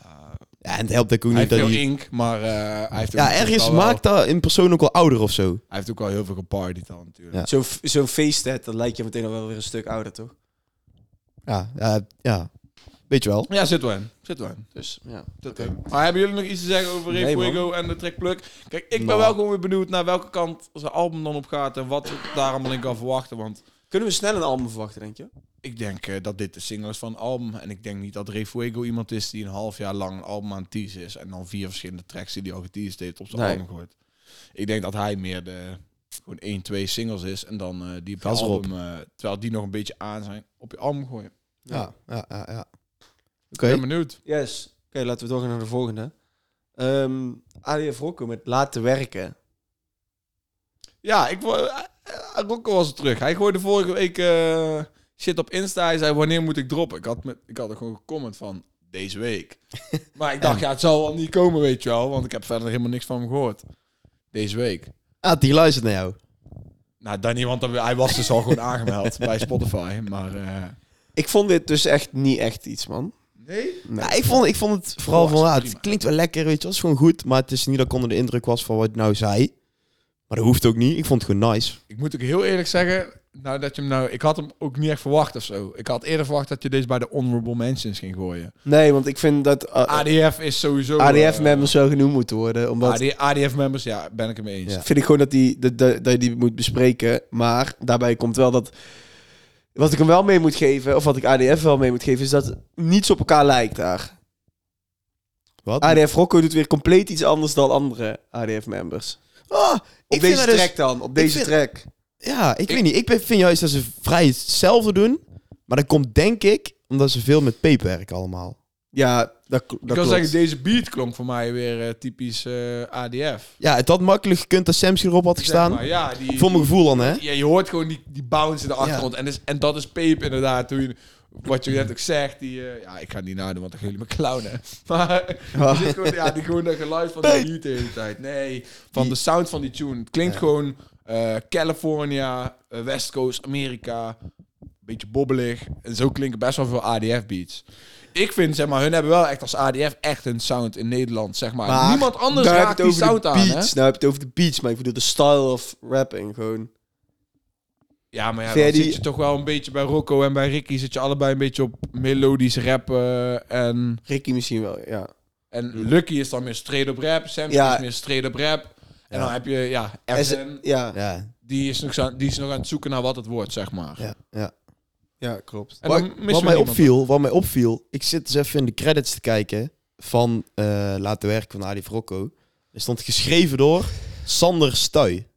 Speaker 3: Ja, en het helpt denk ik ook
Speaker 1: hij
Speaker 3: niet
Speaker 1: heeft
Speaker 3: dat
Speaker 1: veel
Speaker 3: hij...
Speaker 1: ink, maar eh, hij heeft ook
Speaker 3: Ja,
Speaker 1: natuurlijk
Speaker 3: ergens
Speaker 1: al wel-
Speaker 3: maakt dat in persoon ook wel ouder of zo.
Speaker 1: Hij heeft ook wel heel veel geparty dan, natuurlijk.
Speaker 3: Ja.
Speaker 2: Zo'n f- zo'n feesthet, dat lijkt je meteen al wel weer een stuk ouder, toch?
Speaker 3: Ja, ja, ja. Weet je wel?
Speaker 1: Ja, zit wel in. Zit wel in.
Speaker 2: Dus ja.
Speaker 1: Zit wel in. Maar hebben jullie nog iets te zeggen over
Speaker 2: Nee,
Speaker 1: Ray Fuego en de trackplug? Kijk, ik ben
Speaker 3: Nou.
Speaker 1: wel gewoon weer benieuwd naar welke kant zijn album dan op gaat en wat ik daar allemaal in kan verwachten. Want
Speaker 2: Kunnen we snel een album verwachten, denk je?
Speaker 1: ik denk eh, dat dit de single is van een album. En ik denk niet dat Ray Fuego iemand is die een half jaar lang een album aan het teasen is. En dan vier verschillende tracks die hij al geteased heeft op zijn
Speaker 2: Nee.
Speaker 1: album gooit. Ik denk dat hij meer de gewoon één, twee singles is. En dan eh, die op je
Speaker 3: Gas erop.
Speaker 1: album, eh, terwijl die nog een beetje aan zijn, op je album gooien.
Speaker 3: Ja, ja, ja. ja. Oké.
Speaker 1: Ik ben benieuwd.
Speaker 2: Yes. Oké, laten we doorgaan naar de volgende. Ehm ADF Rocco met Laten Werken.
Speaker 1: Ja, ik, wo- eh, eh, Rocco was er terug. Hij gooide vorige week eh, shit op Insta. Hij zei, wanneer moet ik droppen? Ik had, met, ik had er gewoon gecomment van, deze week. maar ik dacht, ja, het zal wel niet komen, weet je wel. Want ik heb verder helemaal niks van hem gehoord. Deze week.
Speaker 3: Ah, die luistert naar jou.
Speaker 1: Nou, dan niet, want dan- hij was dus al gewoon aangemeld bij Spotify. Maar eh,
Speaker 2: Ik vond dit dus echt niet echt iets, man.
Speaker 1: nee.
Speaker 2: Nee.
Speaker 3: Ja, ik, vond, ik vond het vooral
Speaker 1: Oh,
Speaker 3: van, ja,
Speaker 1: prima.
Speaker 3: het klinkt wel lekker, weet je wel. Het is gewoon goed, maar het is niet dat ik onder de indruk was van wat het nou zei. Maar dat hoeft ook niet. Ik vond het gewoon nice.
Speaker 1: Ik moet ook heel eerlijk zeggen, nou dat je hem nou... Ik had hem ook niet echt verwacht of zo. Ik had eerder verwacht dat je deze bij de honorable mentions ging gooien.
Speaker 2: Nee, want ik vind dat eh,
Speaker 1: ADF is sowieso... eh,
Speaker 2: ADF-members zo genoemd moeten worden. Omdat
Speaker 1: AD- ADF-members, ja, ben ik het mee eens.
Speaker 3: Ja.
Speaker 2: vind ik gewoon dat, die, dat, dat, dat je die moet bespreken. Maar daarbij komt wel dat... Wat ik hem wel mee moet geven, of wat ik ADF wel mee moet geven, is dat niets op elkaar lijkt daar.
Speaker 3: Wat?
Speaker 2: ADF Rocco doet weer compleet iets anders dan andere ADF-members.
Speaker 3: Ah,
Speaker 2: Op
Speaker 3: ik
Speaker 2: deze
Speaker 3: vind dat dus-
Speaker 2: track dan, op deze
Speaker 3: vind-
Speaker 2: track.
Speaker 3: ja, ik, weet niet. Ik ben- vind juist dat ze vrij hetzelfde doen. Maar dat komt denk ik omdat ze veel met peper werken allemaal.
Speaker 2: Ja, dat, dat klopt.
Speaker 1: Ik kan zeggen, deze beat klonk voor mij weer eh, typisch eh, ADF.
Speaker 3: Ja, het had makkelijk gekund dat Samsky erop had gestaan.
Speaker 1: Zeg maar, ja, die,
Speaker 3: Voor mijn gevoel dan, hè?
Speaker 1: ja, je hoort gewoon die, die bounce in de achtergrond. En, is, en dat is peep inderdaad. Hoe je, wat je net ook zegt. Die, eh, ja, ik ga het niet nadoen, want dan gaan jullie me clownen. *laughs* Maar
Speaker 2: Ja.
Speaker 1: die zit gewoon, ja, die, gewoon dat geluid van die beat de hele tijd. Nee, van de sound van die tune. Het klinkt gewoon eh, California, eh, West Coast, Amerika. Beetje bobbelig. En zo klinken best wel veel ADF-beats. Ik vind, zeg maar, hun hebben wel echt als ADF echt een sound in Nederland, zeg maar.
Speaker 2: Maar
Speaker 1: Niemand anders
Speaker 2: daar
Speaker 1: raakt
Speaker 2: heb
Speaker 1: die
Speaker 2: je het over
Speaker 1: sound
Speaker 2: de
Speaker 1: aan, hè?
Speaker 2: beats. Nou heb je het over de beats, maar ik bedoel de style of rapping gewoon.
Speaker 1: Ja, maar ja,
Speaker 2: Vind
Speaker 1: dan
Speaker 2: jij die-
Speaker 1: zit je toch wel een beetje bij Rocco en bij Ricky zit je allebei een beetje op melodisch rappen. en,
Speaker 2: Ricky misschien wel, ja.
Speaker 1: en Lucky is dan meer straight-up rap, Sam
Speaker 2: Ja.
Speaker 1: is dus meer straight-up rap. En
Speaker 3: Ja.
Speaker 1: dan heb je, ja,
Speaker 2: S-
Speaker 1: FN,
Speaker 2: ja.
Speaker 3: Ja,
Speaker 1: die is, nog zo- die is nog aan het zoeken naar wat het wordt, zeg maar.
Speaker 3: ja, ja.
Speaker 2: ja, klopt.
Speaker 1: En dan
Speaker 3: Wat,
Speaker 1: missen
Speaker 3: wat
Speaker 1: we
Speaker 3: mij
Speaker 1: niemand.
Speaker 3: opviel, wat mij opviel, ik zit dus even in de credits te kijken van eh Laten Werken van Adi Vrocco. Er stond geschreven door Sander Stuy.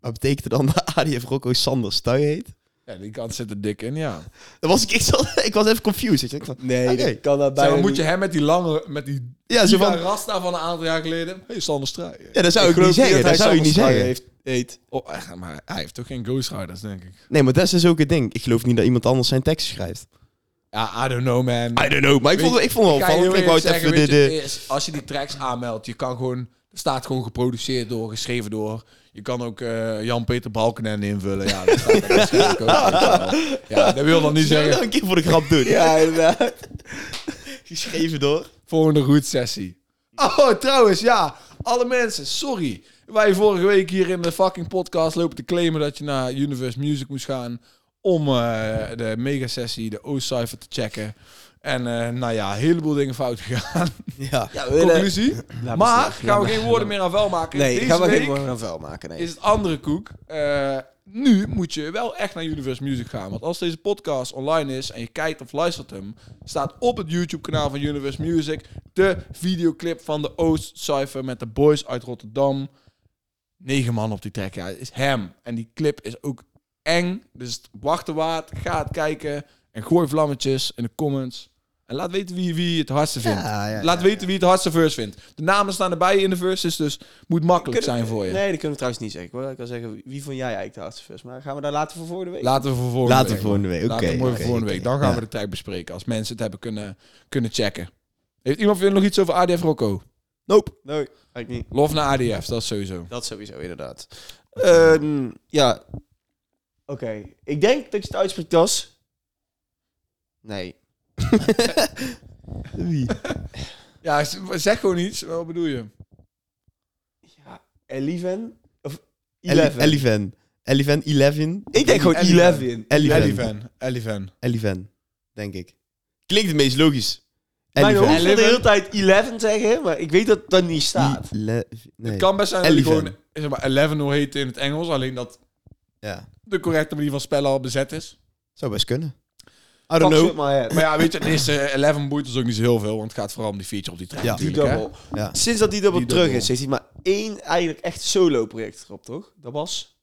Speaker 3: Wat betekent het dan dat Adi Vrocco Sander Stuy heet?
Speaker 1: Ja, die kant zit er dik in, ja.
Speaker 3: Dan was ik, ik, zat- *laughs* ik was even confused. weet je. Ik dacht,
Speaker 2: Nee,
Speaker 3: Oké.
Speaker 2: dat kan dat
Speaker 1: Zeg,
Speaker 2: bijna
Speaker 1: maar, moet
Speaker 2: niet.
Speaker 1: je hem met die lange, met die
Speaker 3: ja, zo
Speaker 1: diva
Speaker 3: van,
Speaker 1: Rasta van een aantal jaar geleden... Hey, Sander Strijer.
Speaker 3: ja, dat zou ik,
Speaker 2: geloof
Speaker 3: niet zeggen. Dat
Speaker 2: hij
Speaker 3: zou ik niet
Speaker 2: Sander
Speaker 3: zeggen.
Speaker 2: Stray Heeft, heet.
Speaker 1: Oh, echt, maar hij heeft toch geen ghostwriters, denk ik.
Speaker 3: Nee, maar dat is dus ook het ding. Ik geloof niet dat iemand anders zijn tekst schrijft.
Speaker 1: Ja, I don't know, man.
Speaker 3: I don't know, maar ik
Speaker 1: Weet-
Speaker 3: vond, ik vond het wel
Speaker 1: Ik ga je heel
Speaker 3: opvallend. Ik
Speaker 1: eerlijk
Speaker 3: wou het
Speaker 1: zeggen,
Speaker 3: even de...
Speaker 1: weet je,
Speaker 3: de-
Speaker 1: het is, als je die tracks aanmeldt, je kan gewoon, er staat gewoon geproduceerd door, geschreven door. Je kan ook eh, Jan-Peter Balkenende invullen. Ja, dat staat er waarschijnlijk ook, weet je wel. ja, dat wil dan niet
Speaker 3: Zullen we dat
Speaker 1: zeggen.
Speaker 3: een keer voor de grap doen?
Speaker 2: Ja, inderdaad.
Speaker 3: Geschreven door...
Speaker 1: Volgende route sessie. Oh, trouwens, ja. Alle mensen, sorry. Wij vorige week hier in de fucking podcast lopen te claimen dat je naar Universe Music moest gaan om eh, de megasessie, de O-Cypher te checken. En eh, nou ja, een heleboel dingen fout gegaan.
Speaker 3: Ja.
Speaker 2: Ja,
Speaker 1: Conclusie.
Speaker 2: maar
Speaker 1: Maar
Speaker 2: snel.
Speaker 1: gaan we
Speaker 2: Laat
Speaker 1: geen
Speaker 2: maar.
Speaker 1: woorden meer aan vuil maken.
Speaker 2: Nee,
Speaker 1: Deze
Speaker 2: ik ga maar
Speaker 1: week
Speaker 2: geen woorden aan vuil maken. Nee.
Speaker 1: is het andere koek. Eh, nu moet je wel echt naar Universe Music gaan. Want als deze podcast online is en je kijkt of luistert hem... staat op het YouTube-kanaal van Universe Music... de videoclip van de Oost-cypher met de boys uit Rotterdam. Negen man op die track. Ja, het is hem. En die clip is ook eng. Dus wachten waard. Ga het kijken. En gooi vlammetjes in de comments. En laat weten wie, wie het hardste vindt.
Speaker 3: Ja, ja,
Speaker 1: Laat weten wie het hardste verse vindt. De namen staan erbij in de verses, dus moet makkelijk zijn voor je.
Speaker 2: Nee, dat kunnen we trouwens niet zeggen. hoor. Ik kan zeggen, wie vond jij eigenlijk de hardste first? Maar gaan we daar later voor voor de week?
Speaker 1: Laten we voor volgende
Speaker 3: Laten we
Speaker 1: week.
Speaker 3: volgende week,
Speaker 1: Laten we
Speaker 3: oké,
Speaker 1: mooi
Speaker 3: oké,
Speaker 1: voor volgende week.
Speaker 3: oké.
Speaker 1: Dan gaan
Speaker 3: Ja.
Speaker 1: we de tijd bespreken. Als mensen het hebben kunnen, kunnen checken. Heeft iemand weer nog iets over ADF Rocco?
Speaker 3: Nope.
Speaker 2: nee, eigenlijk niet.
Speaker 1: Lof naar ADF, dat is sowieso.
Speaker 2: Dat sowieso, inderdaad. Ehm, ja. Oké. Ik denk dat je het uitspreekt als... Nee.
Speaker 3: Wie?
Speaker 1: Ja, z- zeg gewoon iets. Wat bedoel je?
Speaker 2: Ja, Eleven? Of Eleven?
Speaker 3: Eleven. Eleven, Eleven.
Speaker 2: ik denk gewoon
Speaker 1: Eleven.
Speaker 2: Eleven.
Speaker 3: Eleven.
Speaker 1: Elivan. Elivan.
Speaker 3: Eleven, denk ik. Klinkt het meest logisch.
Speaker 2: Mijn hoofd wil de
Speaker 1: Eleven.
Speaker 2: hele tijd 11 zeggen, maar ik weet dat het dan niet staat.
Speaker 3: Le- nee.
Speaker 1: Het kan best zijn dat hij
Speaker 3: Eleven.
Speaker 1: gewoon zeg maar, 11 hoe heet in het Engels. Alleen dat
Speaker 3: Ja,
Speaker 1: de correcte manier van spellen al bezet is.
Speaker 3: zou best kunnen. I don't know.
Speaker 1: Maar ja, weet je, het eerste 11 boeit ons ook niet zo heel veel. Want het gaat vooral om die feature op die trein.
Speaker 3: Ja.
Speaker 2: Die
Speaker 1: natuurlijk, hè.
Speaker 2: double.
Speaker 3: Ja.
Speaker 2: Sinds dat die double
Speaker 1: Die
Speaker 2: terug
Speaker 1: double.
Speaker 2: is, heeft hij maar één eigenlijk echt solo project erop, toch? Dat was...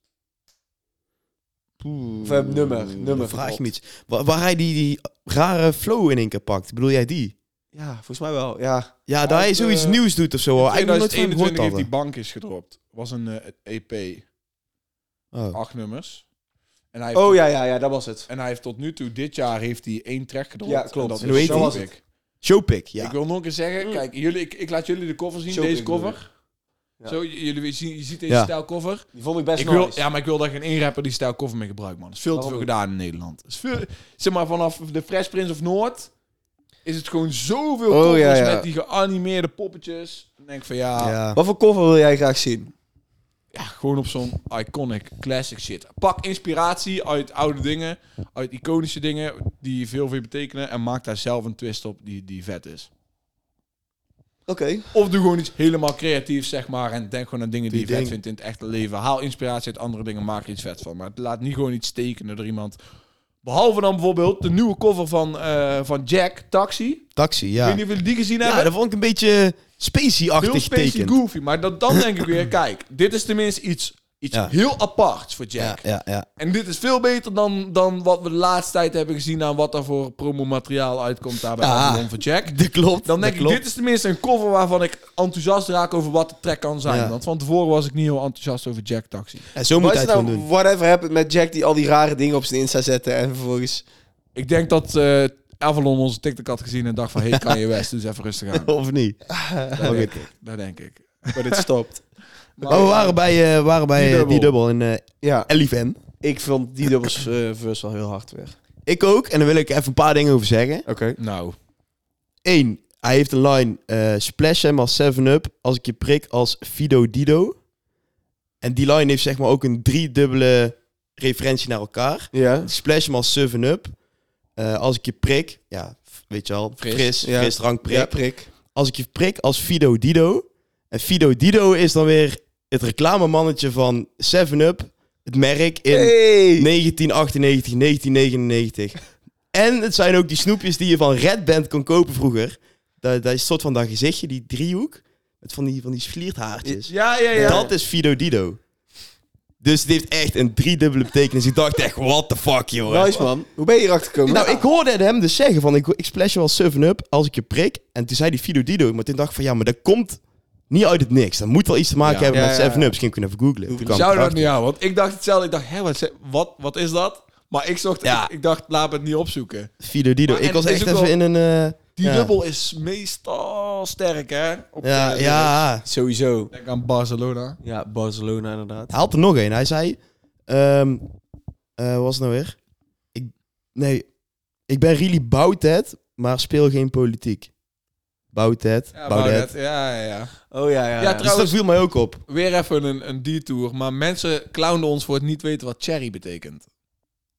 Speaker 2: Of eh, nummer, nummer.
Speaker 3: Dan vraag je
Speaker 2: verkocht.
Speaker 3: me iets. Wa- Waar, hij die, die rare flow in één keer pakt. Bedoel jij die?
Speaker 2: Ja, volgens mij wel, ja.
Speaker 3: Ja, dat hij
Speaker 1: Uit,
Speaker 3: zoiets
Speaker 1: eh,
Speaker 3: nieuws doet of zo. waar Ik nog nooit van hem
Speaker 1: 2021
Speaker 3: gehoord
Speaker 1: heeft die
Speaker 3: hadden.
Speaker 1: bank is gedropt. Was een eh, EP,
Speaker 3: Oh.
Speaker 1: acht nummers. En hij heeft
Speaker 2: Oh
Speaker 1: tot-
Speaker 2: ja, ja, ja, dat was het.
Speaker 1: En hij heeft tot nu toe, dit jaar, heeft hij één track gedropt.
Speaker 2: Ja, klopt.
Speaker 1: En dat
Speaker 2: Zo
Speaker 1: is
Speaker 3: heet
Speaker 1: Show
Speaker 2: die.
Speaker 1: Pick.
Speaker 3: Oh. Showpick, ja.
Speaker 1: Ik wil nog een keer zeggen,
Speaker 2: Mm.
Speaker 1: kijk, jullie, ik, ik laat jullie de cover zien,
Speaker 2: Show
Speaker 1: deze
Speaker 2: Pick bedoel
Speaker 1: cover.
Speaker 2: Ja.
Speaker 1: Zo, j- jullie zien, je ziet deze
Speaker 3: Ja.
Speaker 1: stijl cover.
Speaker 2: Die vond ik best
Speaker 1: Ik
Speaker 2: nice.
Speaker 1: wil, ja, maar ik wil daar geen één rapper die stijl cover mee gebruikt, man. Er is veel te
Speaker 2: Waarom
Speaker 1: veel gedaan in Nederland. Er Is veel, zeg maar, vanaf de Fresh Prince of Noord is het gewoon zoveel
Speaker 2: Oh,
Speaker 1: covers
Speaker 2: ja, ja.
Speaker 1: met die geanimeerde poppetjes. Dan denk ik van, ja, ja.
Speaker 3: ja.
Speaker 2: Wat voor cover wil jij graag zien?
Speaker 1: gewoon op zo'n iconic classic shit. Pak inspiratie uit oude dingen, uit iconische dingen die veel voor je betekenen en maak daar zelf een twist op die, die vet is.
Speaker 2: Oké.
Speaker 1: Of doe gewoon iets helemaal creatiefs, zeg maar. En denk gewoon aan dingen die,
Speaker 3: Die
Speaker 1: je vet
Speaker 3: ding.
Speaker 1: vindt in het echte leven. Haal inspiratie uit andere dingen, maak er iets vet van. Maar het laat niet gewoon iets tekenen door iemand. Behalve dan bijvoorbeeld de nieuwe cover van, eh, van Jack, Taxi.
Speaker 3: Taxi,
Speaker 1: Ik weet
Speaker 3: ja.
Speaker 1: niet of jullie die gezien
Speaker 3: Ja,
Speaker 1: hebben.
Speaker 3: dat vond ik een beetje
Speaker 1: heel
Speaker 3: spacey-achtig
Speaker 1: specie
Speaker 3: getekend.
Speaker 1: goofy. Maar dat, dan denk ik
Speaker 3: *laughs*
Speaker 1: weer, kijk, dit is tenminste iets, iets
Speaker 3: Ja.
Speaker 1: heel aparts voor
Speaker 3: Ja,
Speaker 1: Jack.
Speaker 3: ja, ja.
Speaker 1: En dit is veel beter dan, dan wat we de laatste tijd hebben gezien aan wat er voor promomateriaal uitkomt daar bij
Speaker 3: Ja.
Speaker 1: Babylon voor Jack.
Speaker 3: *laughs* Dat klopt.
Speaker 1: Dan
Speaker 3: dat
Speaker 1: denk ik,
Speaker 3: klopt.
Speaker 1: dit is tenminste een cover waarvan ik enthousiast raak over wat de track kan zijn.
Speaker 3: Ja.
Speaker 1: Want van tevoren was ik niet heel enthousiast over Jack Taxi.
Speaker 3: En zo moet
Speaker 2: Wat
Speaker 3: hij
Speaker 2: is
Speaker 3: het gewoon
Speaker 2: nou
Speaker 3: doen.
Speaker 2: whatever happened met Jack die al die rare dingen op zijn Insta zette en vervolgens...
Speaker 1: Ik denk dat eh, Avalon onze TikTok had gezien en dacht van, hey Kanye West, dus even rustig
Speaker 3: *laughs*
Speaker 1: aan.
Speaker 3: Of niet?
Speaker 1: Daar denk ik. Daar denk ik.
Speaker 2: Maar dit stopt.
Speaker 1: Maar-
Speaker 3: Maar we waren bij, eh, waren bij
Speaker 1: Die
Speaker 3: eh, die,
Speaker 1: dubbel.
Speaker 3: dubbel in
Speaker 2: *laughs*
Speaker 3: eh
Speaker 2: Ja,
Speaker 3: Eleven.
Speaker 2: ik vond die dubbels eh, verse wel heel hard weer.
Speaker 3: Ik ook. En daar wil ik even een paar dingen over zeggen.
Speaker 2: Oké.
Speaker 1: Nou,
Speaker 3: Eén, hij heeft een line. eh, splash hem als 7-up. Als ik je prik als Fido Dido. En die line heeft zeg maar ook een driedubbele referentie naar elkaar.
Speaker 2: Ja.
Speaker 3: Splash hem als 7-up. eh, als ik je prik. Ja, f- weet je al.
Speaker 1: Fris.
Speaker 3: Fris. Fris,
Speaker 2: Ja.
Speaker 3: drank, prik.
Speaker 2: Ja, prik.
Speaker 3: Als ik je prik als Fido Dido. En Fido Dido is dan weer het reclamemannetje van 7-up. Het merk in
Speaker 2: Hey!
Speaker 3: 1998, 1999. En het zijn ook die snoepjes die je van Red Band kon kopen vroeger. Dat, dat is een soort van dat gezichtje, die driehoek. Met van die, van die vlierthaartjes.
Speaker 1: ja, ja, ja.
Speaker 3: Dat is Fido Dido. Dus het heeft echt een driedubbele betekenis. Ik dacht echt, what the fuck, joh.
Speaker 1: Nou,
Speaker 2: Nice man. Hoe ben je hierachter gekomen?
Speaker 3: Nou, ik hoorde het hem dus zeggen van, ik, ik splash je wel 7-up als ik je prik. En toen zei die Fido Dido, maar toen dacht ik van, ja, maar dat komt niet uit het niks. Dat moet wel iets te maken
Speaker 1: Ja.
Speaker 3: hebben
Speaker 2: Ja,
Speaker 3: met
Speaker 2: ja, ja.
Speaker 3: 7-up. Misschien kunnen we even googlen. Toen kwam ik
Speaker 1: Shout-out
Speaker 3: erachter.
Speaker 1: naar jou, want ik dacht hetzelfde. Ik dacht, hè, wat, ze- wat, wat is dat? Maar ik, zocht,
Speaker 3: Ja.
Speaker 1: ik, ik dacht, laat me het niet opzoeken.
Speaker 3: Fido Dido.
Speaker 1: Maar- en
Speaker 3: ik was
Speaker 1: het is
Speaker 3: echt
Speaker 1: ook
Speaker 3: even in een... eh,
Speaker 1: Die
Speaker 3: ja.
Speaker 1: dubbel is meestal sterk, hè? Op
Speaker 3: Ja,
Speaker 1: de-
Speaker 3: ja.
Speaker 2: Sowieso.
Speaker 1: Denk aan Barcelona.
Speaker 2: Ja, Barcelona inderdaad.
Speaker 3: Hij had er nog een. Hij zei... ehm eh, wat was het nou weer? Ik, nee. Ik ben really Boutet, maar speel geen politiek. Boutet,
Speaker 1: Ja,
Speaker 3: Boutet.
Speaker 1: Baudet. Ja, ja, ja.
Speaker 2: Oh ja, ja.
Speaker 1: Ja,
Speaker 2: ja.
Speaker 1: trouw-
Speaker 3: Dus dat viel mij ook op.
Speaker 1: Weer even een, een detour. Maar mensen clownden ons voor het niet weten wat cherry betekent.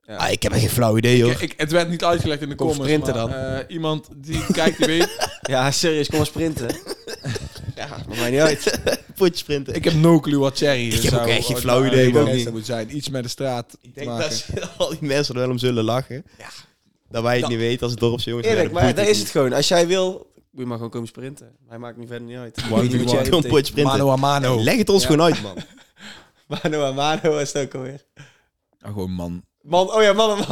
Speaker 3: Ah, ik heb echt geen flauw idee, joh.
Speaker 1: Ik, ik- het werd niet uitgelegd in de
Speaker 2: Kom
Speaker 1: comments.
Speaker 2: sprinten
Speaker 1: maar,
Speaker 2: dan.
Speaker 1: eh, iemand die kijkt, die weet.
Speaker 3: *laughs*
Speaker 2: Ja, serieus, kom maar sprinten. *laughs* ja, maakt mij niet uit.
Speaker 3: Potje sprinten.
Speaker 1: Ik heb no clue wat cherry is.
Speaker 3: Ik heb ook
Speaker 1: Zou eh,
Speaker 3: echt geen
Speaker 1: ooit
Speaker 3: flauw
Speaker 1: maar
Speaker 3: idee,
Speaker 1: een
Speaker 3: man.
Speaker 1: referentie moet zijn. Iets met de straat
Speaker 3: Ik
Speaker 1: te maken.
Speaker 3: ze- al die mensen er wel om zullen lachen.
Speaker 2: Ja.
Speaker 3: Dat wij het niet weten als dorpse jongens.
Speaker 2: Eerlijk, maar daar is het gewoon. Als jij wil, moet je maar gewoon komen sprinten. Hij maakt niet verder niet uit. Ik weet niet wat jij
Speaker 3: Gewoon
Speaker 2: betekent.
Speaker 3: potje sprinten.
Speaker 1: Mano a mano.
Speaker 3: Leg het ons gewoon uit, man.
Speaker 2: Mano en Mano is het ook alweer.
Speaker 1: Ah, gewoon man.
Speaker 2: Man, oh *laughs* ja, man en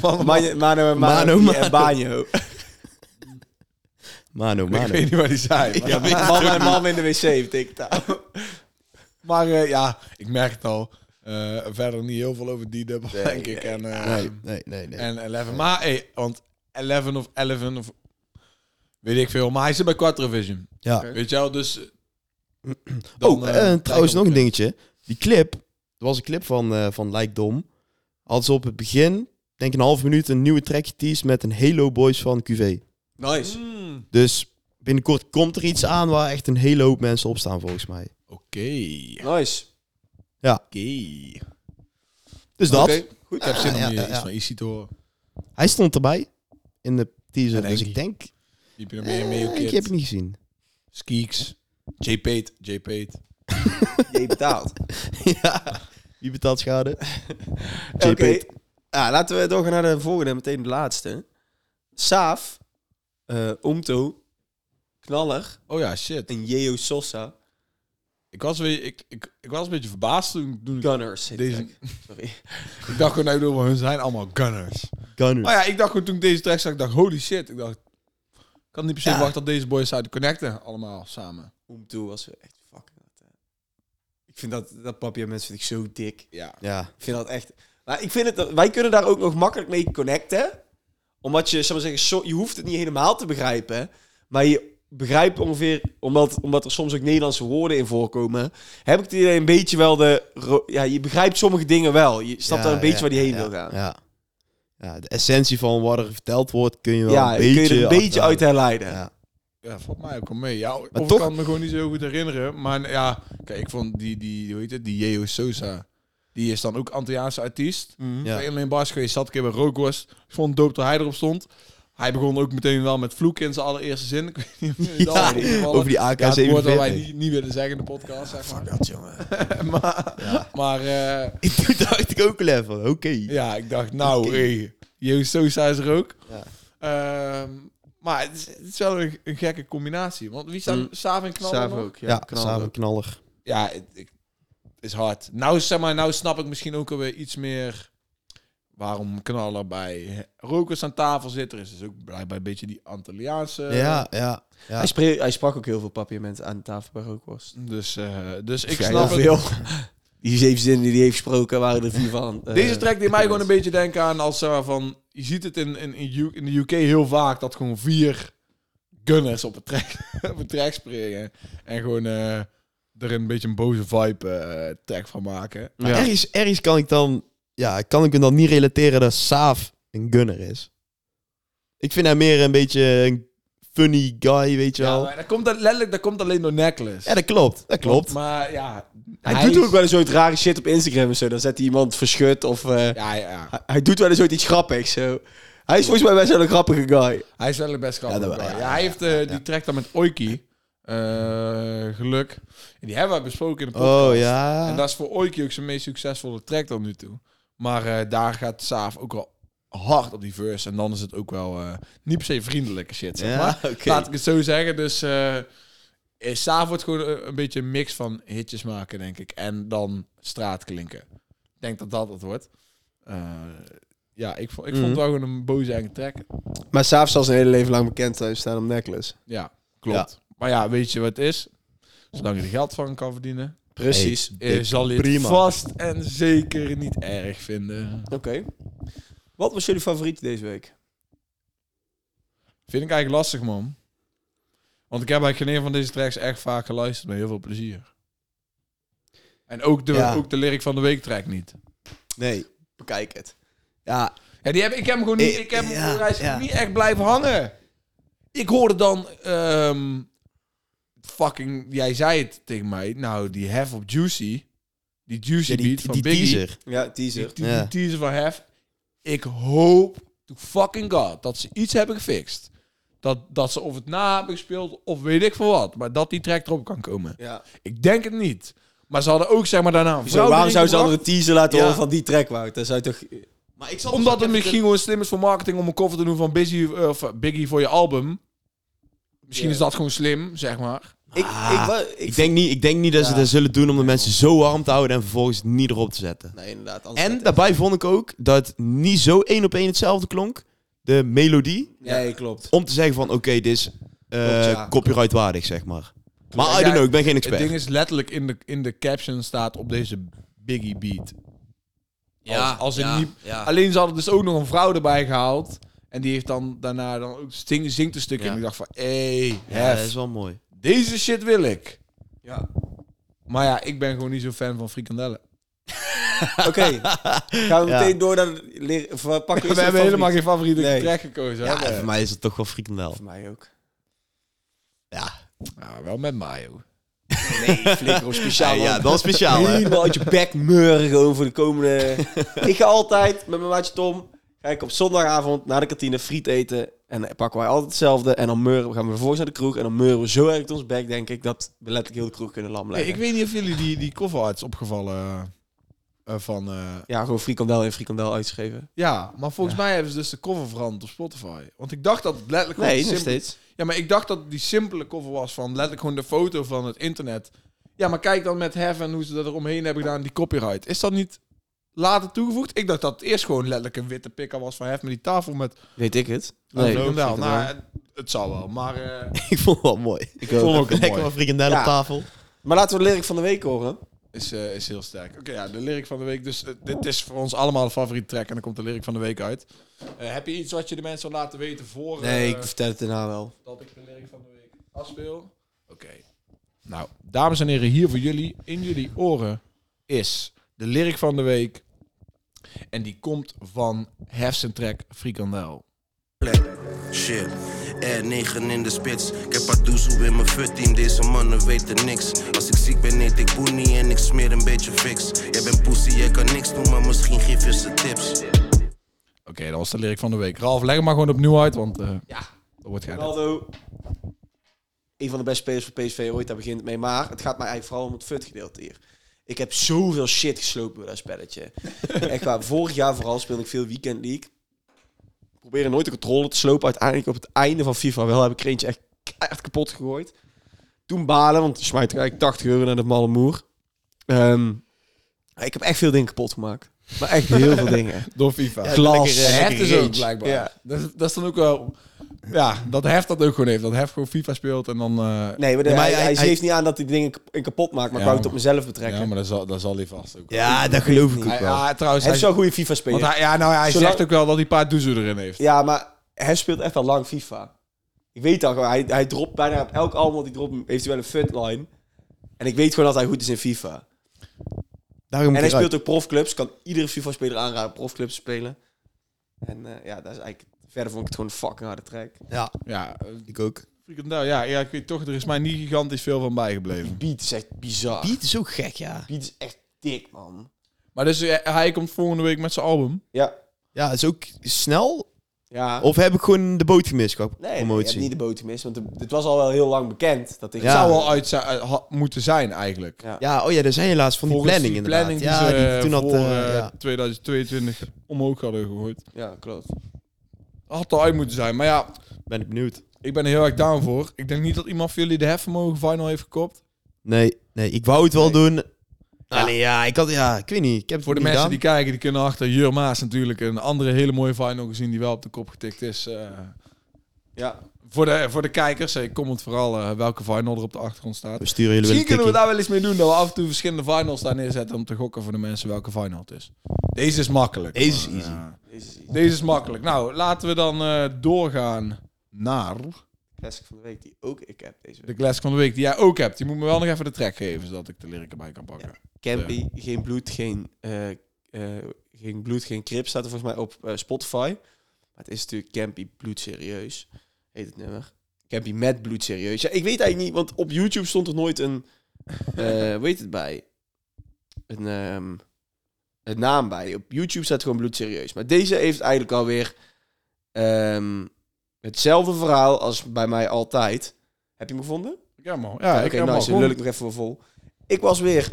Speaker 2: man. Manje- Mano en Mano.
Speaker 3: Mano,
Speaker 2: eh, die-
Speaker 3: Mano.
Speaker 2: En *laughs* Banjo.
Speaker 3: Mano,
Speaker 1: Ik
Speaker 3: mano.
Speaker 1: weet niet wat hij
Speaker 3: *laughs*
Speaker 1: zei. maar-
Speaker 3: weet ik
Speaker 2: Man en man in de wc betekent dat.
Speaker 1: Maar eh, ja, ik merk het al. Eh, verder niet heel veel over die dubbel, denk ik. En, eh,
Speaker 3: Nee, nee, nee. nee.
Speaker 1: en Eleven. Maar hey, want Eleven of Eleven of... Weet ik veel. Maar hij zit bij Quattrovision.
Speaker 3: Ja.
Speaker 1: Weet je wel, dus... eh,
Speaker 3: *clears throat* oh,
Speaker 1: eh,
Speaker 3: eh, trouwens
Speaker 1: kijken
Speaker 3: nog
Speaker 1: we-
Speaker 3: een dingetje. Die clip, er was een clip van, eh van Like Dom. Hadden ze op het begin, denk een half minuut, een nieuwe track geteased met een Halo Boys van
Speaker 2: *laughs*
Speaker 3: QV.
Speaker 2: Nice.
Speaker 1: Mm.
Speaker 3: Dus binnenkort komt er iets aan waar echt een hele hoop mensen op staan volgens mij.
Speaker 1: Oké.
Speaker 2: Nice.
Speaker 1: Oké.
Speaker 3: Dus dat.
Speaker 2: Oké, goed.
Speaker 1: Ik heb zin om
Speaker 3: Ja,
Speaker 1: hier
Speaker 3: dus Ah, ja,
Speaker 1: iets
Speaker 3: ja.
Speaker 1: van Issy te horen.
Speaker 3: Hij stond erbij in de teaser.
Speaker 1: Ja,
Speaker 3: dus
Speaker 1: denk
Speaker 3: ik denk...
Speaker 1: Die heb je
Speaker 3: eh,
Speaker 1: mee, mee
Speaker 3: die heb ik niet gezien.
Speaker 1: Skeeks. J. Pate. J. E Pate.
Speaker 2: Je betaalt.
Speaker 3: ja. Wie betaalt schade?
Speaker 2: *laughs* Oké.
Speaker 3: Pate.
Speaker 2: Ja, Ah, laten we doorgaan naar de volgende, meteen de laatste. Saaf, eh Omto, Knaller
Speaker 1: Oh ja, shit.
Speaker 2: en Jeo Sosa.
Speaker 1: Ik was, weer, ik, ik, ik was een beetje verbaasd toen, toen ik...
Speaker 2: Gunners. heet
Speaker 1: Deze-
Speaker 2: het eigenlijk. *laughs* Sorry.
Speaker 1: Ik dacht gewoon, nou, ik bedoel, hun zijn allemaal gunners.
Speaker 3: Gunners.
Speaker 1: Maar Oh ja, ik dacht gewoon toen ik deze track zag, ik dacht, holy shit. Ik dacht, ik kan niet per se
Speaker 3: Ja.
Speaker 1: wachten dat deze boys zouden connecten, allemaal samen.
Speaker 2: Omto was echt fucking... hard, hè. Ik vind dat, dat papje mensen vind ik zo dik.
Speaker 1: Ja.
Speaker 3: Ja.
Speaker 2: Ik vind dat echt. Maar ik vind het. Wij kunnen daar ook nog makkelijk mee connecten. Omdat je, zeg maar zeggen, zo, je hoeft het niet helemaal te begrijpen. Maar je begrijpt ongeveer, omdat, omdat er soms ook Nederlandse woorden in voorkomen. Heb ik het idee een beetje wel de. ro- Ja, je begrijpt sommige dingen wel. Je snapt
Speaker 3: Ja,
Speaker 2: daar een beetje
Speaker 3: ja,
Speaker 2: waar die heen
Speaker 3: ja,
Speaker 2: wil gaan. Ja,
Speaker 3: Ja. ja. De essentie van wat er verteld wordt kun je wel een
Speaker 2: kun
Speaker 3: beetje...
Speaker 2: je er een beetje uit
Speaker 3: achterhalen.
Speaker 2: herleiden.
Speaker 3: Ja.
Speaker 1: Ja, volgens mij ook al mee. Ja, of
Speaker 3: Maar
Speaker 1: ik
Speaker 3: toch-
Speaker 1: kan me gewoon niet zo heel goed herinneren. Maar ja, kijk, ik vond die, die hoe heet het, die Jeo Sosa. Die is dan ook Antilliaanse artiest.
Speaker 2: Mhm.
Speaker 3: Ja.
Speaker 1: Ja. In mijn bars geweest, zat een keer bij Rookworst. Ik vond het dope dat hij erop stond. Hij begon ook meteen wel met vloeken in zijn allereerste zin. *laughs* Ik weet niet of jullie dat al
Speaker 3: Ja,
Speaker 1: ingevallen.
Speaker 3: over die
Speaker 1: ja, het woord dat wij
Speaker 3: AK-47.
Speaker 1: niet, niet willen zeggen in de podcast, zeg maar.
Speaker 2: dat, jongen.
Speaker 1: maar maar eh,
Speaker 3: *laughs* Ik Toen dacht ik ook al even, oké.
Speaker 1: ja, ik dacht, nou, hey, Joost Sosa is er ook.
Speaker 3: Ja.
Speaker 1: Ehm, maar het is, het is wel een, een gekke combinatie. Want wie staan
Speaker 2: Mm.
Speaker 1: Saaf en Knal
Speaker 2: Saaf
Speaker 1: nog?
Speaker 2: ook. Ja,
Speaker 3: Ja,
Speaker 2: Knaller
Speaker 3: samen
Speaker 2: ook.
Speaker 3: knaller.
Speaker 1: ja, het, ik- het is hard. Nou, zeg maar, nou snap ik misschien ook alweer iets meer waarom knallen bij rokers aan tafel zitten. Er is dus ook blijkbaar een beetje die Antilliaanse.
Speaker 3: ja, ja. ja.
Speaker 2: Hij, spree- hij sprak ook heel veel papiermenten aan de tafel bij Rookworst.
Speaker 1: Dus, eh, dus ik
Speaker 2: Vrij
Speaker 1: snap het.
Speaker 2: veel. *laughs* Die zeven zinnen die hij heeft gesproken waren er vier van. Eh,
Speaker 1: Deze track die mij gewoon een beetje denken aan als zeg maar, van... Je ziet het in, in, in, U- in de UK heel vaak dat gewoon vier gunners op een track, *laughs* op een track springen. En gewoon eh, er een beetje een boze vibe eh, track van maken.
Speaker 3: Maar
Speaker 2: Ja.
Speaker 3: ergens, ergens kan ik dan... Ja, kan ik hem dan niet relateren dat Saaf een gunner is. Ik vind hem meer een beetje een funny guy, weet je
Speaker 1: Ja,
Speaker 3: wel.
Speaker 1: maar dat komt, dat- letterlijk, dat komt alleen door Necklace.
Speaker 3: Ja, dat klopt. Dat klopt.
Speaker 1: Maar ja...
Speaker 2: Hij, doet
Speaker 1: is-
Speaker 2: ook wel eens zoiets rare shit op Instagram en zo. Dan zet hij iemand verschut of... eh,
Speaker 1: Ja, ja, ja.
Speaker 2: hij, hij doet wel eens ooit iets grappigs. Zo. Hij is volgens mij best wel een grappige guy.
Speaker 1: Hij is wel best grappig.
Speaker 3: Ja,
Speaker 1: Ja,
Speaker 3: dat wel, ja,
Speaker 1: ja, hij heeft eh, die track dan met Oiki. eh, geluk. En die hebben we besproken in de podcast.
Speaker 3: Oh, ja.
Speaker 1: En dat is voor Oiki ook zijn meest succesvolle track tot nu toe. Maar eh, daar gaat Saaf ook wel hard op die verse. En dan is het ook wel eh, niet per se vriendelijke shit, zeg
Speaker 3: Ja,
Speaker 1: maar.
Speaker 3: oké.
Speaker 1: Laat ik het zo zeggen. Dus eh, eh, Saaf wordt gewoon eh, een beetje een mix van hitjes maken, denk ik. En dan straatklinken. Ik denk dat dat het wordt. Eh, ja, ik, vond, ik vond
Speaker 2: Mhm.
Speaker 1: het wel gewoon een boze eigen track.
Speaker 2: Maar Saaf zal zijn hele leven lang bekend zijn staan om Necklace.
Speaker 1: Ja, klopt. Maar ja, weet je wat het is? Zolang je er geld van kan verdienen,
Speaker 2: Precies.
Speaker 3: Hey,
Speaker 1: eh,
Speaker 3: dik,
Speaker 1: zal je het
Speaker 3: prima.
Speaker 1: vast en zeker niet erg vinden.
Speaker 2: Oké. Wat was jullie favoriet deze week?
Speaker 1: Vind ik eigenlijk lastig, man. Want ik heb eigenlijk geen een van deze tracks echt vaak geluisterd met heel veel plezier. En ook de,
Speaker 3: Ja.
Speaker 1: ook de lyric van de week track niet.
Speaker 3: Nee.
Speaker 2: Bekijk het.
Speaker 3: Ja,
Speaker 1: Ja, die heb, ik heb hem gewoon niet,
Speaker 3: Eh,
Speaker 1: ik heb hem
Speaker 3: ja,
Speaker 1: gewoon- hij is
Speaker 3: ja.
Speaker 1: niet echt blijven hangen. Ik hoorde dan, ehm, fucking, jij zei het tegen mij, nou die Hef op Juicy, die Juicy
Speaker 3: ja, die,
Speaker 1: beat van
Speaker 3: die
Speaker 1: Biggie.
Speaker 3: teaser.
Speaker 2: Ja, teaser.
Speaker 1: Die, die,
Speaker 3: Ja.
Speaker 1: die teaser van Hef. Ik hoop to fucking god dat ze iets hebben gefixt. Dat, dat ze of het na hebben gespeeld of weet ik veel wat. Maar dat die track erop kan komen.
Speaker 2: Ja.
Speaker 1: Ik denk het niet. Maar ze hadden ook zeg maar daarna een vrouw
Speaker 2: waarom
Speaker 1: erin
Speaker 2: zou ze dan
Speaker 1: gebracht,
Speaker 2: een teaser laten
Speaker 1: Ja.
Speaker 2: horen van die track, Wout? Dat zou je toch...
Speaker 3: Maar ik zat
Speaker 1: Omdat het misschien gewoon slim is voor marketing om een cover te doen van Busy, eh, of Biggie voor je album. Misschien
Speaker 2: Ja.
Speaker 1: is dat gewoon slim, zeg maar.
Speaker 2: Ik, ik, wa- ik,
Speaker 3: Ah, Ik denk niet, ik denk niet dat ze
Speaker 2: Ja.
Speaker 3: dat zullen doen om de mensen zo warm te houden en vervolgens het niet erop te zetten.
Speaker 2: Nee, inderdaad. anders
Speaker 3: En
Speaker 2: werd
Speaker 3: daarbij vond ik ook dat niet zo één op één hetzelfde klonk. De melodie.
Speaker 2: het- Nee,
Speaker 3: *laughs*
Speaker 2: klopt.
Speaker 3: Om te zeggen van, oké, dit is eh,
Speaker 2: Klopt, ja.
Speaker 3: copyrightwaardig, zeg maar. Maar I
Speaker 1: Ja,
Speaker 3: don't know, ik ben geen expert.
Speaker 1: Het ding is letterlijk in de, in de caption staat op deze Biggie beat. als, als in niet, Alleen ze hadden dus ook nog een vrouw erbij gehaald. En die heeft dan daarna dan ook zing, zingt een stukje.
Speaker 3: Ja.
Speaker 1: En ik dacht van, hé, hey,
Speaker 3: Ja, dat is wel mooi.
Speaker 1: deze shit wil ik.
Speaker 2: Ja.
Speaker 1: Maar ja, ik ben gewoon niet zo fan van frikandellen.
Speaker 2: Oké. Gaan we
Speaker 3: Ja.
Speaker 2: meteen door naar... de leer-
Speaker 3: *laughs*
Speaker 2: of, eh, Pakken
Speaker 1: We hebben helemaal geen favoriete
Speaker 2: Nee.
Speaker 1: track gekozen.
Speaker 3: Ja,
Speaker 1: hè?
Speaker 3: en voor mij is het toch wel frikandel.
Speaker 2: Voor mij ook.
Speaker 3: Ja,
Speaker 1: Nou, wel met mayo.
Speaker 2: Nee, flikker speciaal.
Speaker 3: ja, ja dat is speciaal,
Speaker 2: *laughs*
Speaker 3: hè?
Speaker 2: Helemaal uit je bek meuren gewoon voor de *laughs* komende... ik ga altijd met mijn maatje Tom... Ga ik op zondagavond naar de kantine friet eten. En dan pakken wij altijd hetzelfde. En dan meuren we, gaan we vervolgens naar de kroeg. En dan meuren we zo erg op ons bek, denk ik, dat we letterlijk heel de kroeg kunnen lam
Speaker 1: Hey,
Speaker 2: leggen.
Speaker 1: ik weet niet of jullie die, die coverart is opgevallen eh, eh, van... eh,
Speaker 2: Ja, gewoon frikandel en frikandel uitschrijven.
Speaker 1: ja, maar volgens mij hebben ze dus de cover veranderd op Spotify. Want ik dacht dat het letterlijk... gewoon die simpele-
Speaker 2: steeds.
Speaker 1: Ja, maar ik dacht dat het die simpele cover was van letterlijk gewoon de foto van het internet. Ja, maar kijk dan met Heaven en hoe ze dat eromheen hebben gedaan, die copyright. Is dat niet later toegevoegd? Ik dacht dat het eerst gewoon letterlijk een witte pikker was van Heaven met die tafel met...
Speaker 2: Weet ik het?
Speaker 1: Nee,
Speaker 2: ik
Speaker 1: wel. Nou, het, het zal wel, maar... eh,
Speaker 3: ik vond het wel mooi.
Speaker 2: ik
Speaker 1: vond
Speaker 2: ook.
Speaker 1: ook
Speaker 3: Lekker
Speaker 1: mooi.
Speaker 3: wat frikandel
Speaker 2: Ja.
Speaker 3: op tafel.
Speaker 2: Maar laten we de lyric van de week horen.
Speaker 1: Is, eh, is heel sterk. Oké, ja, de lyric van de week. Dus eh, dit is voor ons allemaal de favoriete track. En dan komt de lyric van de week uit. Eh, heb je iets wat je de mensen wil laten weten voor
Speaker 2: Nee,
Speaker 1: eh,
Speaker 2: ik vertel het daarna wel.
Speaker 1: dat ik de lyric van de week afspeel? Oké. Nou, dames en heren, hier voor jullie, in jullie oren, is de lyric van de week. En die komt van Hersentrack Frikandel.
Speaker 4: plek. Shit. R9 in de spits. Ik heb Adoezoe in mijn futteam, deze mannen weten niks. Als ik ziek ben, eet ik boenie en ik smeer een beetje fix. Jij bent pussy, jij kan niks doen, maar misschien geef je ze tips.
Speaker 1: Oké, dat was de lyric van de week. Ralf, leg hem maar gewoon opnieuw uit, want eh
Speaker 2: Ja.
Speaker 1: dat wordt geëdit.
Speaker 2: Ronaldo, een van de beste spelers van PSV ooit, daar begint het mee. Maar het gaat mij eigenlijk vooral om het fut gedeelte hier. Ik heb zoveel shit geslopen door dat spelletje. Echt waar, vorig jaar vooral speelde ik veel Weekend League. Proberen nooit de controle te slopen. Uiteindelijk op het einde van FIFA wel heb ik er eentje echt keihard kapot gegooid. Toen balen, want je smijt er eigenlijk 80 euro naar de malle moer. Ehm, ik heb echt veel dingen kapot gemaakt. Maar echt heel veel dingen.
Speaker 1: Door FIFA.
Speaker 2: Glas.
Speaker 1: Ja, heft is ook
Speaker 3: Rage.
Speaker 1: blijkbaar.
Speaker 2: eh, Ja.
Speaker 1: Dat, is- dat is dan ook wel... Ja, dat heft dat ook gewoon heeft. Dat heft gewoon FIFA speelt en dan... eh,
Speaker 2: Nee, maar, de-
Speaker 3: Ja, maar
Speaker 2: hij,
Speaker 3: hij-
Speaker 2: hij
Speaker 3: hij-
Speaker 2: geeft niet aan dat hij dingen kap- in kapot maakt. Maar
Speaker 1: Ja,
Speaker 2: ik wou het
Speaker 1: maar-
Speaker 2: op mezelf betrekken.
Speaker 1: ja, maar dat zal, dat zal hij vast ook wel.
Speaker 3: Ja, dat geloof ik
Speaker 1: Hij-
Speaker 3: ook wel.
Speaker 1: ja, trouwens,
Speaker 2: Hij
Speaker 1: Dus hij,
Speaker 2: is zo'n goede FIFA-speler.
Speaker 1: want hij, ja, nou, ja, hij
Speaker 2: Zolang-
Speaker 1: zegt ook wel dat hij een paar doezoe erin heeft.
Speaker 2: Ja, maar hij speelt echt al lang FIFA. Ik weet dat gewoon. Hij, hij dropt bijna op elk album wat hij dropt, heeft hij wel een frontline. En ik weet gewoon dat hij goed is in FIFA.
Speaker 3: Daarom
Speaker 2: En hij
Speaker 3: moet
Speaker 2: speelt ook profclubs. Kan iedere FIFA-speler aanraden profclubs te spelen. En eh, ja, dat is eigenlijk... Verder vond ik het gewoon een fucking harde track.
Speaker 3: Ja,
Speaker 1: Ja, eh,
Speaker 3: ik ook.
Speaker 1: frikandel. Ja, ja, ik weet toch, er is mij niet gigantisch veel van bijgebleven.
Speaker 2: Beat is echt bizar. Beat,
Speaker 3: Piet is ook gek, ja.
Speaker 2: is echt dik, man.
Speaker 1: Maar dus eh, hij komt volgende week met zijn album.
Speaker 2: Ja.
Speaker 3: Ja, het is ook snel.
Speaker 2: Ja.
Speaker 3: Of heb ik gewoon de boot gemist qua
Speaker 2: nee, nee, je hebt
Speaker 3: promotie?
Speaker 2: niet de boot gemist. Want het- het was al wel heel lang bekend dat dit
Speaker 3: Ja.
Speaker 1: Zou wel uit zijn- eh, ha- moeten zijn eigenlijk.
Speaker 2: Ja.
Speaker 3: Ja, oh ja, daar zijn je laatst van die
Speaker 1: Volgens
Speaker 3: planning inderdaad.
Speaker 1: planning
Speaker 3: ja,
Speaker 1: die ze
Speaker 3: die toen had...
Speaker 1: voor,
Speaker 3: eh,
Speaker 1: eh,
Speaker 3: ja.
Speaker 1: 2022 omhoog hadden gegooid.
Speaker 2: Ja, klopt.
Speaker 1: Had al uit moeten zijn, maar ja,
Speaker 3: Ben ik benieuwd.
Speaker 1: Ik ben er heel erg down voor. Ik denk niet dat iemand van jullie de hefvermogen final heeft gekopt.
Speaker 3: Nee, nee, ik wou het wel doen. Alleen ja, ik had... Ja, ik weet niet. Ik heb het
Speaker 1: Voor de
Speaker 3: niet
Speaker 1: mensen die
Speaker 3: gedaan.
Speaker 1: kijken, die kunnen achter Jur Maas natuurlijk een andere hele mooie final gezien die wel op de kop getikt is. eh.
Speaker 2: Ja.
Speaker 1: voor, de, voor de kijkers, eh, comment vooral eh, welke final er op de achtergrond staat.
Speaker 3: We sturen jullie wel
Speaker 1: Misschien
Speaker 3: een
Speaker 1: kunnen we
Speaker 3: tikkie.
Speaker 1: daar wel iets mee doen, dat we af en toe verschillende finals daar neerzetten om te gokken voor de mensen welke final het is. Deze is makkelijk.
Speaker 3: Deze is
Speaker 1: maar,
Speaker 3: easy.
Speaker 1: ja.
Speaker 2: Jezus, die
Speaker 1: Deze is makkelijk. Nou, laten we dan eh, doorgaan naar
Speaker 2: classic van de week die ook ik heb deze
Speaker 1: de
Speaker 2: week.
Speaker 1: classic van de week die jij ook hebt. Die moet me wel nog even de track geven, zodat ik de lyric erbij kan pakken.
Speaker 2: Campy, geen bloed, geen, eh, eh, geen bloed, geen krip staat er volgens mij op eh, Spotify. Maar het is natuurlijk Campy bloed serieus, heet het nummer. Campy met bloed serieus. Ja, ik weet eigenlijk niet, want op YouTube stond er nooit een, eh hoe heet het bij? Een, ehm, een naam bij. Op YouTube staat gewoon bloed serieus. Maar deze heeft eigenlijk alweer ehm, hetzelfde verhaal als bij mij altijd. Heb je hem gevonden?
Speaker 1: Ja, man. Ja, ik
Speaker 2: Oké,
Speaker 1: heb hem al
Speaker 2: nice. Dan
Speaker 1: gevonden.
Speaker 2: lul ik nog even voor vol. Ik was weer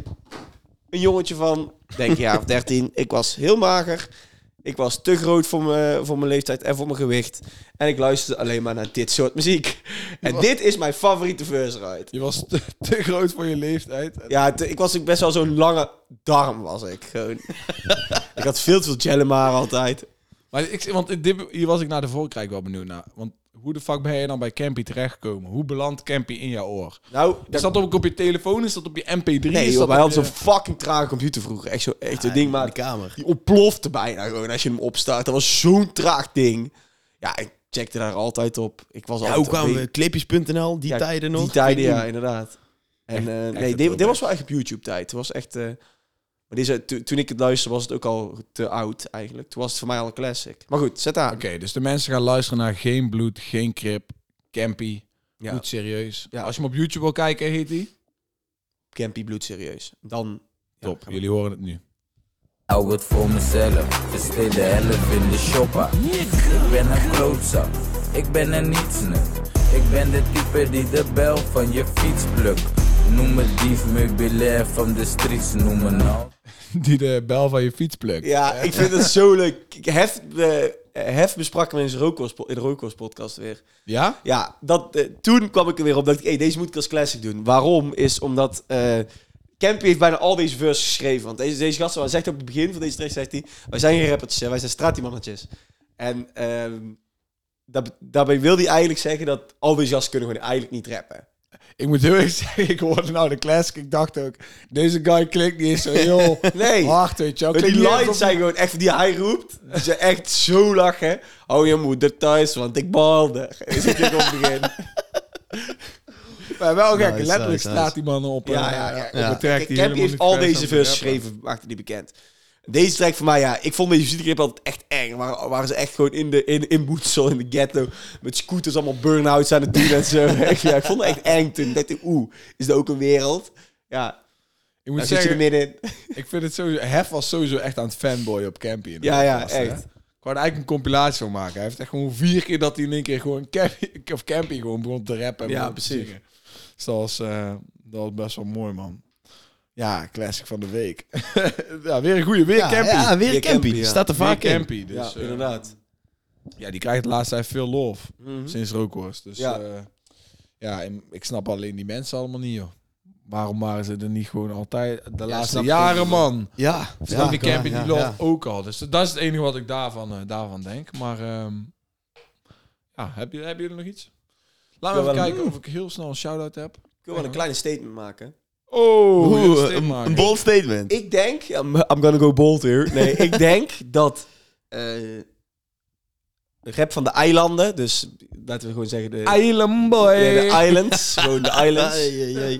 Speaker 2: een jongetje van, denk ik, jaar of 13. Ik was heel mager. Ik was te groot voor mijn, voor mijn leeftijd en voor mijn gewicht. En ik luisterde alleen maar naar dit soort muziek. En dit is mijn favoriete verse uit.
Speaker 1: Je was te, te groot voor je leeftijd.
Speaker 2: Ja, te- ik was ook best wel zo'n lange darm was ik. Gewoon. ik had veel te veel Jellemar altijd.
Speaker 1: Maar ik, want dit, hier was ik naar de Volkrijk wel benieuwd naar. Want hoe de fuck ben je dan bij Campy terechtgekomen? Hoe belandt Campy in jouw oor?
Speaker 2: Nou,
Speaker 1: Is dat op, op je telefoon? Is dat op je MP3?
Speaker 2: nee,
Speaker 1: is
Speaker 2: joh,
Speaker 1: dat
Speaker 2: wij
Speaker 1: op
Speaker 2: hadden
Speaker 1: je-
Speaker 2: zo'n fucking trage computer vroeger. Echt zo'n echt zo'n ding,
Speaker 3: Ja, in
Speaker 2: maar
Speaker 3: de kamer.
Speaker 2: Die ontplofte bijna gewoon als je hem opstart. Dat was zo'n traag ding. Ja, ik checkte daar altijd op. Ik was
Speaker 3: Ja,
Speaker 2: altijd...
Speaker 3: hoe kwamen we? Clipjes.nl, die
Speaker 2: Ja,
Speaker 3: tijden nog.
Speaker 2: Die tijden, ja, inderdaad. En eh, nee,
Speaker 1: het
Speaker 2: dit, dit
Speaker 1: throwback.
Speaker 2: was wel echt op YouTube-tijd. Het was echt... eh, maar deze, to- toen ik het luisterde was het ook al te oud eigenlijk. Toen was het voor mij al een classic. Maar goed, zet aan.
Speaker 1: Oké, dus de mensen gaan luisteren naar Geen Bloed, Geen Krip, Campy.
Speaker 2: Ja.
Speaker 1: Goed serieus.
Speaker 2: Ja.
Speaker 1: Als je hem op YouTube wil kijken, heet die.
Speaker 2: Campy Bloed serieus. Dan... ja,
Speaker 1: Top,
Speaker 2: gaan we-
Speaker 1: jullie horen het nu. *laughs*
Speaker 5: Hou het voor mezelf, besteed de helft in de shoppa. Ik ben een klootzak, ik ben een nietsnut. Ik ben de type die de bel van je fiets plukt. Noem me dief, meubilair van de streets, noem me nou.
Speaker 1: Die de bel van je fiets plukt.
Speaker 2: Ja, ik vind het zo leuk. Ik- Hef, eh, Hef besprak hem in zijn Rookworst po- in de Rookworst podcast weer.
Speaker 1: Ja?
Speaker 2: Ja, dat, eh, toen kwam ik er weer op dat ik, hey, deze moet ik als classic doen. Waarom? Is omdat eh Campy heeft bijna al deze verses geschreven. Want deze, deze gasten, hij zegt op het begin van deze track, zegt hij, wij zijn geen rappertjes, hè, wij zijn straatmannetjes. En ehm, dat, daarbij wil hij eigenlijk zeggen dat al deze gasten kunnen gewoon eigenlijk niet rappen.
Speaker 1: Ik moet heel eerlijk *laughs* zeggen, ik hoorde nou de classic. Ik dacht ook, deze guy klinkt niet eens zo heel
Speaker 2: *laughs* Nee.
Speaker 1: hard, weet je wel.
Speaker 2: Maar
Speaker 1: Klinkt
Speaker 2: die
Speaker 1: niet eens
Speaker 2: lines
Speaker 1: of-
Speaker 2: zijn gewoon echt, die hij roept, die zijn echt zo lachen. Oh, je moeder thuis, want ik baalde. *laughs* Is het ook op het begin.
Speaker 1: Maar Eh, wel gek,
Speaker 3: Nice,
Speaker 1: letterlijk
Speaker 3: nice,
Speaker 1: staat
Speaker 3: nice.
Speaker 1: die man op een,
Speaker 2: Ja, ja, ja.
Speaker 1: eh, op
Speaker 3: Ja.
Speaker 1: een track.
Speaker 2: Kijk,
Speaker 1: die helemaal
Speaker 2: Campy heeft
Speaker 1: niet
Speaker 2: al
Speaker 1: vers is
Speaker 2: deze
Speaker 1: aan de
Speaker 2: verses
Speaker 1: rapper.
Speaker 2: geschreven, maakte die bekend. Deze track voor mij, ja, ik vond deze muziekgrip altijd echt erg. Waar, waren ze echt gewoon in de in, in Boetsel, in de ghetto, met scooters allemaal burn-outs aan het doen en
Speaker 1: *laughs*
Speaker 2: zo. Echt, ja, ik vond het echt eng toen. Ik dacht, oeh, is dat ook een wereld? Ja,
Speaker 1: Ik moet
Speaker 2: daar zit je er
Speaker 1: zeggen,
Speaker 2: middenin.
Speaker 1: ik vind het sowieso... Hef was sowieso echt aan het fanboy op Campy. in de
Speaker 2: Ja, ja,
Speaker 1: podcast, hè.
Speaker 2: echt.
Speaker 1: Ik wou er eigenlijk een compilatie van maken. Hij heeft echt gewoon vier keer dat hij in één keer gewoon Campy, of Campy gewoon begon te rappen. en
Speaker 2: Ja,
Speaker 1: begon te
Speaker 2: precies.
Speaker 1: zingen. Dus dat was, eh, dat was best wel mooi, man. Ja, classic van de week. *laughs* ja, weer een goede weer
Speaker 3: Ja,
Speaker 1: Campy.
Speaker 3: ja, weer
Speaker 2: Weer
Speaker 3: een campy.
Speaker 2: campy, ja.
Speaker 3: Staat er
Speaker 1: Weer
Speaker 3: vaak in.
Speaker 1: Campy. Dus,
Speaker 2: ja,
Speaker 1: eh,
Speaker 2: inderdaad.
Speaker 1: ja, die krijgt de laatste tijd veel lof.
Speaker 2: Mhm.
Speaker 1: Sinds Rookhorst. Dus
Speaker 2: Ja.
Speaker 1: ja, ja en ik snap alleen die mensen allemaal niet, joh. Waarom waren ze er niet gewoon altijd de laatste
Speaker 2: snap ik
Speaker 1: jaren,
Speaker 2: ook
Speaker 1: man?
Speaker 3: Ja.
Speaker 1: Snap
Speaker 3: ja,
Speaker 1: Dus ik heb
Speaker 3: ja,
Speaker 1: die
Speaker 3: ja.
Speaker 1: love ook al. Dus dat is het enige wat ik daarvan, eh, daarvan denk. Maar ehm, ja, heb je, hebben jullie nog iets? Laten
Speaker 2: wil
Speaker 1: we even
Speaker 2: wel een-
Speaker 1: kijken of ik heel snel een shout-out heb.
Speaker 2: Ik wil wel een kleine statement maken.
Speaker 1: Oh,
Speaker 3: Oeh,
Speaker 1: heel steek
Speaker 3: een,
Speaker 1: maken.
Speaker 3: een bold statement.
Speaker 2: Ik denk, I'm, I'm gonna go bold here.
Speaker 1: *laughs*
Speaker 2: Nee, ik denk dat eh, rap van de eilanden, dus laten we gewoon zeggen de,
Speaker 1: Island boy.
Speaker 2: ja, de islands, gewoon
Speaker 3: *laughs*
Speaker 2: de islands,
Speaker 3: Ai, ai, ai.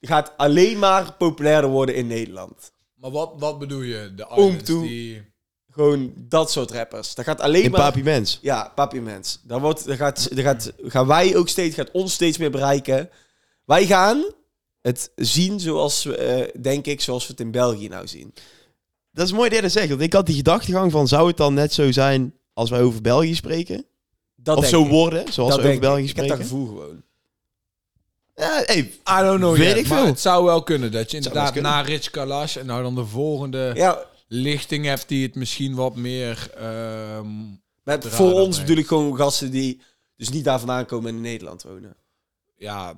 Speaker 2: gaat alleen maar populairder worden in Nederland.
Speaker 1: maar wat, wat bedoel je? De
Speaker 2: Om
Speaker 1: islands
Speaker 2: toe.
Speaker 1: die...
Speaker 2: Gewoon dat soort rappers. Dat gaat alleen
Speaker 3: In
Speaker 2: maar...
Speaker 3: Papi Mens.
Speaker 2: Ja, Papi Mens. Dan, wordt, dan, gaat, dan gaat, gaan wij ook steeds, gaat ons steeds meer bereiken. Wij gaan het zien zoals, we, eh, denk ik, zoals we het in België nou zien.
Speaker 3: Dat is mooi dat je dat zegt. Want ik had die gedachtegang van, zou het dan net zo zijn als wij over België spreken?
Speaker 2: Dat
Speaker 3: of
Speaker 2: denk
Speaker 3: zo
Speaker 2: ik.
Speaker 3: worden, zoals
Speaker 2: Dat
Speaker 3: we over
Speaker 2: denk ik.
Speaker 3: België
Speaker 2: Ik heb dat
Speaker 3: spreken?
Speaker 2: gevoel gewoon.
Speaker 3: Ja, hey,
Speaker 1: I don't know
Speaker 3: Weet
Speaker 1: yet,
Speaker 3: ik
Speaker 1: Oh, maar
Speaker 3: veel.
Speaker 1: het zou wel kunnen dat je
Speaker 3: zou wel
Speaker 1: inderdaad
Speaker 3: eens
Speaker 1: na Rich Kalash en nou dan de volgende
Speaker 2: Ja,
Speaker 1: lichting hebt die het misschien wat meer... ehm,
Speaker 2: Met
Speaker 1: Raar
Speaker 2: voor
Speaker 1: dat
Speaker 2: ons
Speaker 1: wij-
Speaker 2: bedoel ik gewoon gasten die dus niet daar vandaan komen en in Nederland wonen.
Speaker 1: ja,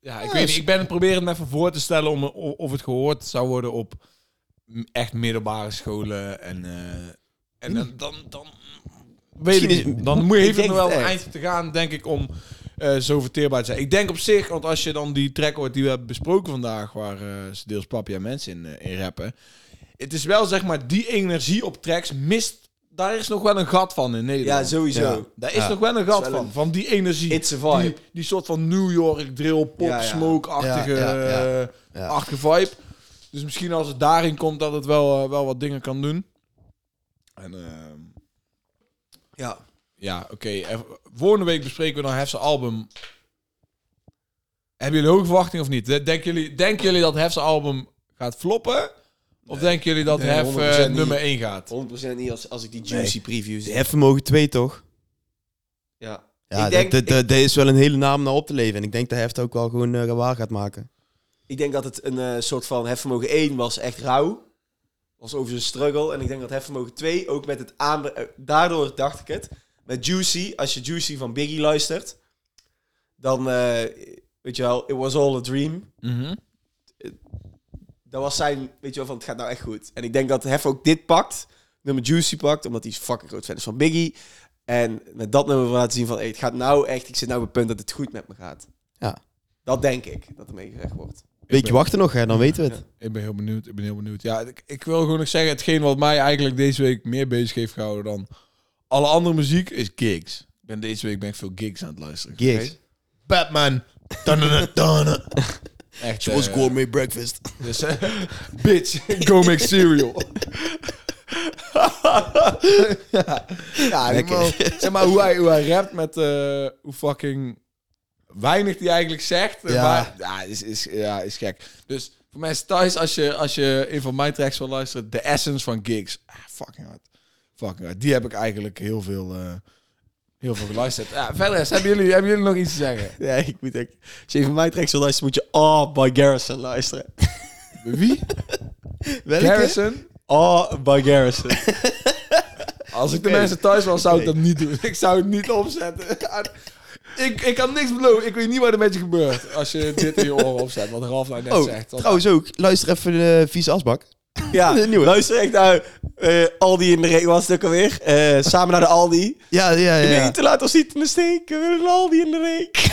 Speaker 1: ja, ik
Speaker 3: Ja,
Speaker 1: weet
Speaker 3: is-
Speaker 1: niet. Ik ben het proberen me even voor te stellen om, o- of het gehoord zou worden op m- echt middelbare scholen. En, eh, en dan, dan, dan weet
Speaker 3: Misschien
Speaker 1: ik
Speaker 3: is-
Speaker 1: niet. Dan moet je
Speaker 2: Ik
Speaker 1: even
Speaker 2: denk
Speaker 1: nog wel
Speaker 2: het
Speaker 1: een
Speaker 2: echt.
Speaker 1: eind te gaan, denk ik, om eh, zo verteerbaar te zijn. Ik denk op zich, want als je dan die track hoort die we hebben besproken vandaag, waar eh, ze deels papia mensen in, eh, in rappen. Het is wel, zeg maar, die energie op tracks mist... Daar is nog wel een gat van in Nederland.
Speaker 2: Ja, sowieso.
Speaker 3: Ja.
Speaker 1: Daar is
Speaker 3: Ja.
Speaker 1: nog wel een
Speaker 2: is
Speaker 1: gat
Speaker 2: wel
Speaker 1: van,
Speaker 2: een-
Speaker 1: van die energie.
Speaker 2: It's a vibe.
Speaker 1: Die, die soort van New York drill, pop,
Speaker 2: Ja, ja.
Speaker 1: smoke-achtige
Speaker 3: Ja, ja, ja.
Speaker 1: eh,
Speaker 3: Ja.
Speaker 1: achtige vibe. Dus misschien als het daarin komt, dat het wel, eh, wel wat dingen kan doen. En ehm,
Speaker 2: Ja.
Speaker 1: ja, oké. En Volgende week bespreken we dan Hef's album. Hebben jullie hoge verwachting of niet? Denken jullie, denken jullie dat Hef's album gaat floppen? Of denken jullie dat
Speaker 2: Nee,
Speaker 1: Hef eh,
Speaker 2: 100% niet.
Speaker 1: nummer 1 gaat?
Speaker 2: 100% niet als, als ik die juicy previews
Speaker 3: de
Speaker 2: zie.
Speaker 3: heffen mogen twee toch?
Speaker 2: Ja.
Speaker 3: Ja,
Speaker 2: ik, denk,
Speaker 3: dat,
Speaker 2: ik,
Speaker 3: dat, dat is wel een hele naam naar op te leven. En ik denk dat Heft ook wel gewoon eh, waar gaat maken.
Speaker 2: ik denk dat het een eh, soort van hefvermogen 1 was echt rauw. Was over zijn struggle. En ik denk dat hefvermogen 2 ook met het aan... eh, Daardoor dacht ik het. Met Juicy, als je Juicy van Biggie luistert, dan eh, weet je wel, it was all a dream.
Speaker 1: Mhm.
Speaker 2: Dat was zijn, weet je wel, van het gaat nou echt goed. En ik denk dat Hef ook dit pakt, nummer Juicy pakt, omdat hij fucking groot fan is van Biggie. En met dat nummer wil laten zien van, hey, het gaat nou echt, ik zit nou op het punt dat het goed met me gaat.
Speaker 3: Ja.
Speaker 2: Dat denk ik, dat er mee gezegd wordt.
Speaker 3: Weet je, wachten nog, hè, dan weten we het.
Speaker 1: Ik ben heel benieuwd. Ik ben heel benieuwd. Ja, ik, ik wil gewoon nog zeggen, hetgeen wat mij eigenlijk deze week meer bezig heeft gehouden dan alle andere muziek is gigs. Ik ben deze week ben ik veel gigs aan het luisteren.
Speaker 3: Gigs.
Speaker 1: Oké? Batman. Tanana, tanana. Echt. eh,
Speaker 3: gourmet breakfast.
Speaker 1: dus, eh, *laughs* bitch, go make *laughs* cereal. ja, ja
Speaker 3: Lekker.
Speaker 1: man, zeg maar hoe hij, hoe hij rapt met eh, hoe fucking weinig die eigenlijk zegt.
Speaker 3: Ja.
Speaker 1: Ja, maar, ja, is, is, ja is gek. Dus voor mij is thuis, als je, als je een van mijn tracks wil luisteren, The Essence van Gigs. Ah, fucking hard. Fucking hard. Die heb ik eigenlijk heel veel, eh, heel veel geluisterd. Ja, verder, hebben jullie, hebben jullie nog iets te zeggen?
Speaker 2: Ja, ik moet echt... Als je even mijn tracks wil luisteren, moet je Oh by Garrison luisteren.
Speaker 1: Wie?
Speaker 3: Welke?
Speaker 1: Garrison?
Speaker 2: Oh by Garrison.
Speaker 1: Als ik de
Speaker 3: Oké.
Speaker 1: mensen thuis was, zou ik dat niet doen. *laughs* Ik zou het niet opzetten. *laughs* Ik, ik kan niks beloven. Ik weet niet wat er met je gebeurt als je dit in je oren opzet. Wat Ralf nou net
Speaker 3: Oh,
Speaker 1: zegt. Dat-
Speaker 3: trouwens ook. Luister even de vieze asbak.
Speaker 2: *laughs* *laughs* ja,
Speaker 3: Nieuwe.
Speaker 2: luister echt naar eh, Aldi in de regen was het ook alweer. Eh, samen naar de Aldi.
Speaker 3: Ja, ja, ja.
Speaker 2: Nee, te laat ons niet in de steek. We willen een Aldi in de *laughs* week.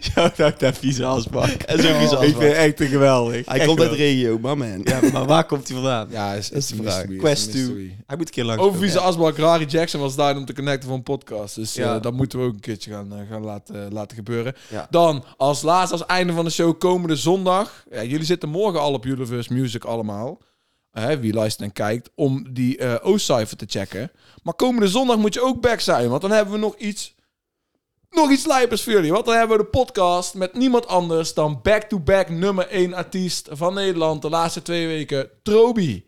Speaker 2: Shout-out naar vieze
Speaker 3: *laughs*
Speaker 2: asbak.
Speaker 3: En zo'n vieze
Speaker 2: Ik
Speaker 3: asbak.
Speaker 2: vind het echt geweldig.
Speaker 3: Hij
Speaker 2: Echt
Speaker 3: komt uit de
Speaker 2: geweldig.
Speaker 3: regio, maar man.
Speaker 2: *laughs*
Speaker 3: Ja,
Speaker 2: Maar waar komt hij vandaan?
Speaker 1: Ja, is, is
Speaker 3: de
Speaker 1: een
Speaker 3: vraag.
Speaker 1: mystery, is
Speaker 2: Quest
Speaker 1: een
Speaker 2: 2.
Speaker 1: mystery.
Speaker 2: Hij moet een keer langs.
Speaker 1: Over
Speaker 2: Over
Speaker 1: vieze asbak, Rari Jackson was daar om te connecten voor een podcast. Dus eh
Speaker 2: Ja.
Speaker 1: dat moeten we ook een keertje gaan, eh, gaan laten, laten gebeuren.
Speaker 2: Ja.
Speaker 1: Dan, als laatste, als einde van de show, komende zondag. Ja, jullie zitten morgen al op Universe Music allemaal. Hè, wie luistert en kijkt, om die eh O-cijfer te checken. Maar komende zondag moet je ook back zijn, want dan hebben we nog iets... Nog iets lijpers voor jullie, want dan hebben we de podcast met niemand anders dan back-to-back nummer 1 artiest van Nederland de laatste twee weken, Trobi.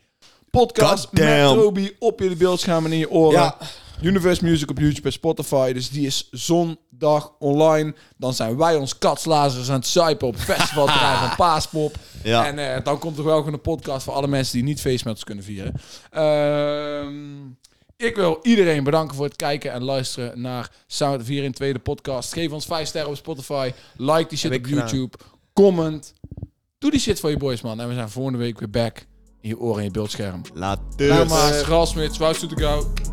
Speaker 1: Podcast met
Speaker 3: Goddamn.
Speaker 1: Trobi op jullie beeldschermen en in je oren.
Speaker 2: Ja.
Speaker 1: Universe Music op YouTube en Spotify. Dus die is zondag online. Dan zijn wij ons katslazers aan het zuipen op
Speaker 2: *laughs*
Speaker 1: festivalterrein van Paaspop.
Speaker 3: Ja.
Speaker 1: En eh, dan komt er wel gewoon een podcast voor alle mensen die niet feest met ons kunnen vieren. Ehm, ik wil iedereen bedanken voor het kijken en luisteren naar Sound 4 in Tweede Podcast. Geef ons 5 sterren op Spotify. Like die shit
Speaker 2: Heb
Speaker 1: op
Speaker 2: ik gedaan.
Speaker 1: YouTube. Comment. Doe die shit voor je boys, man. En we zijn volgende week weer back. In je oren en je beeldscherm.
Speaker 3: Laat
Speaker 2: dus.
Speaker 1: Namaas, Ralf Smits, Wout Soetegouw.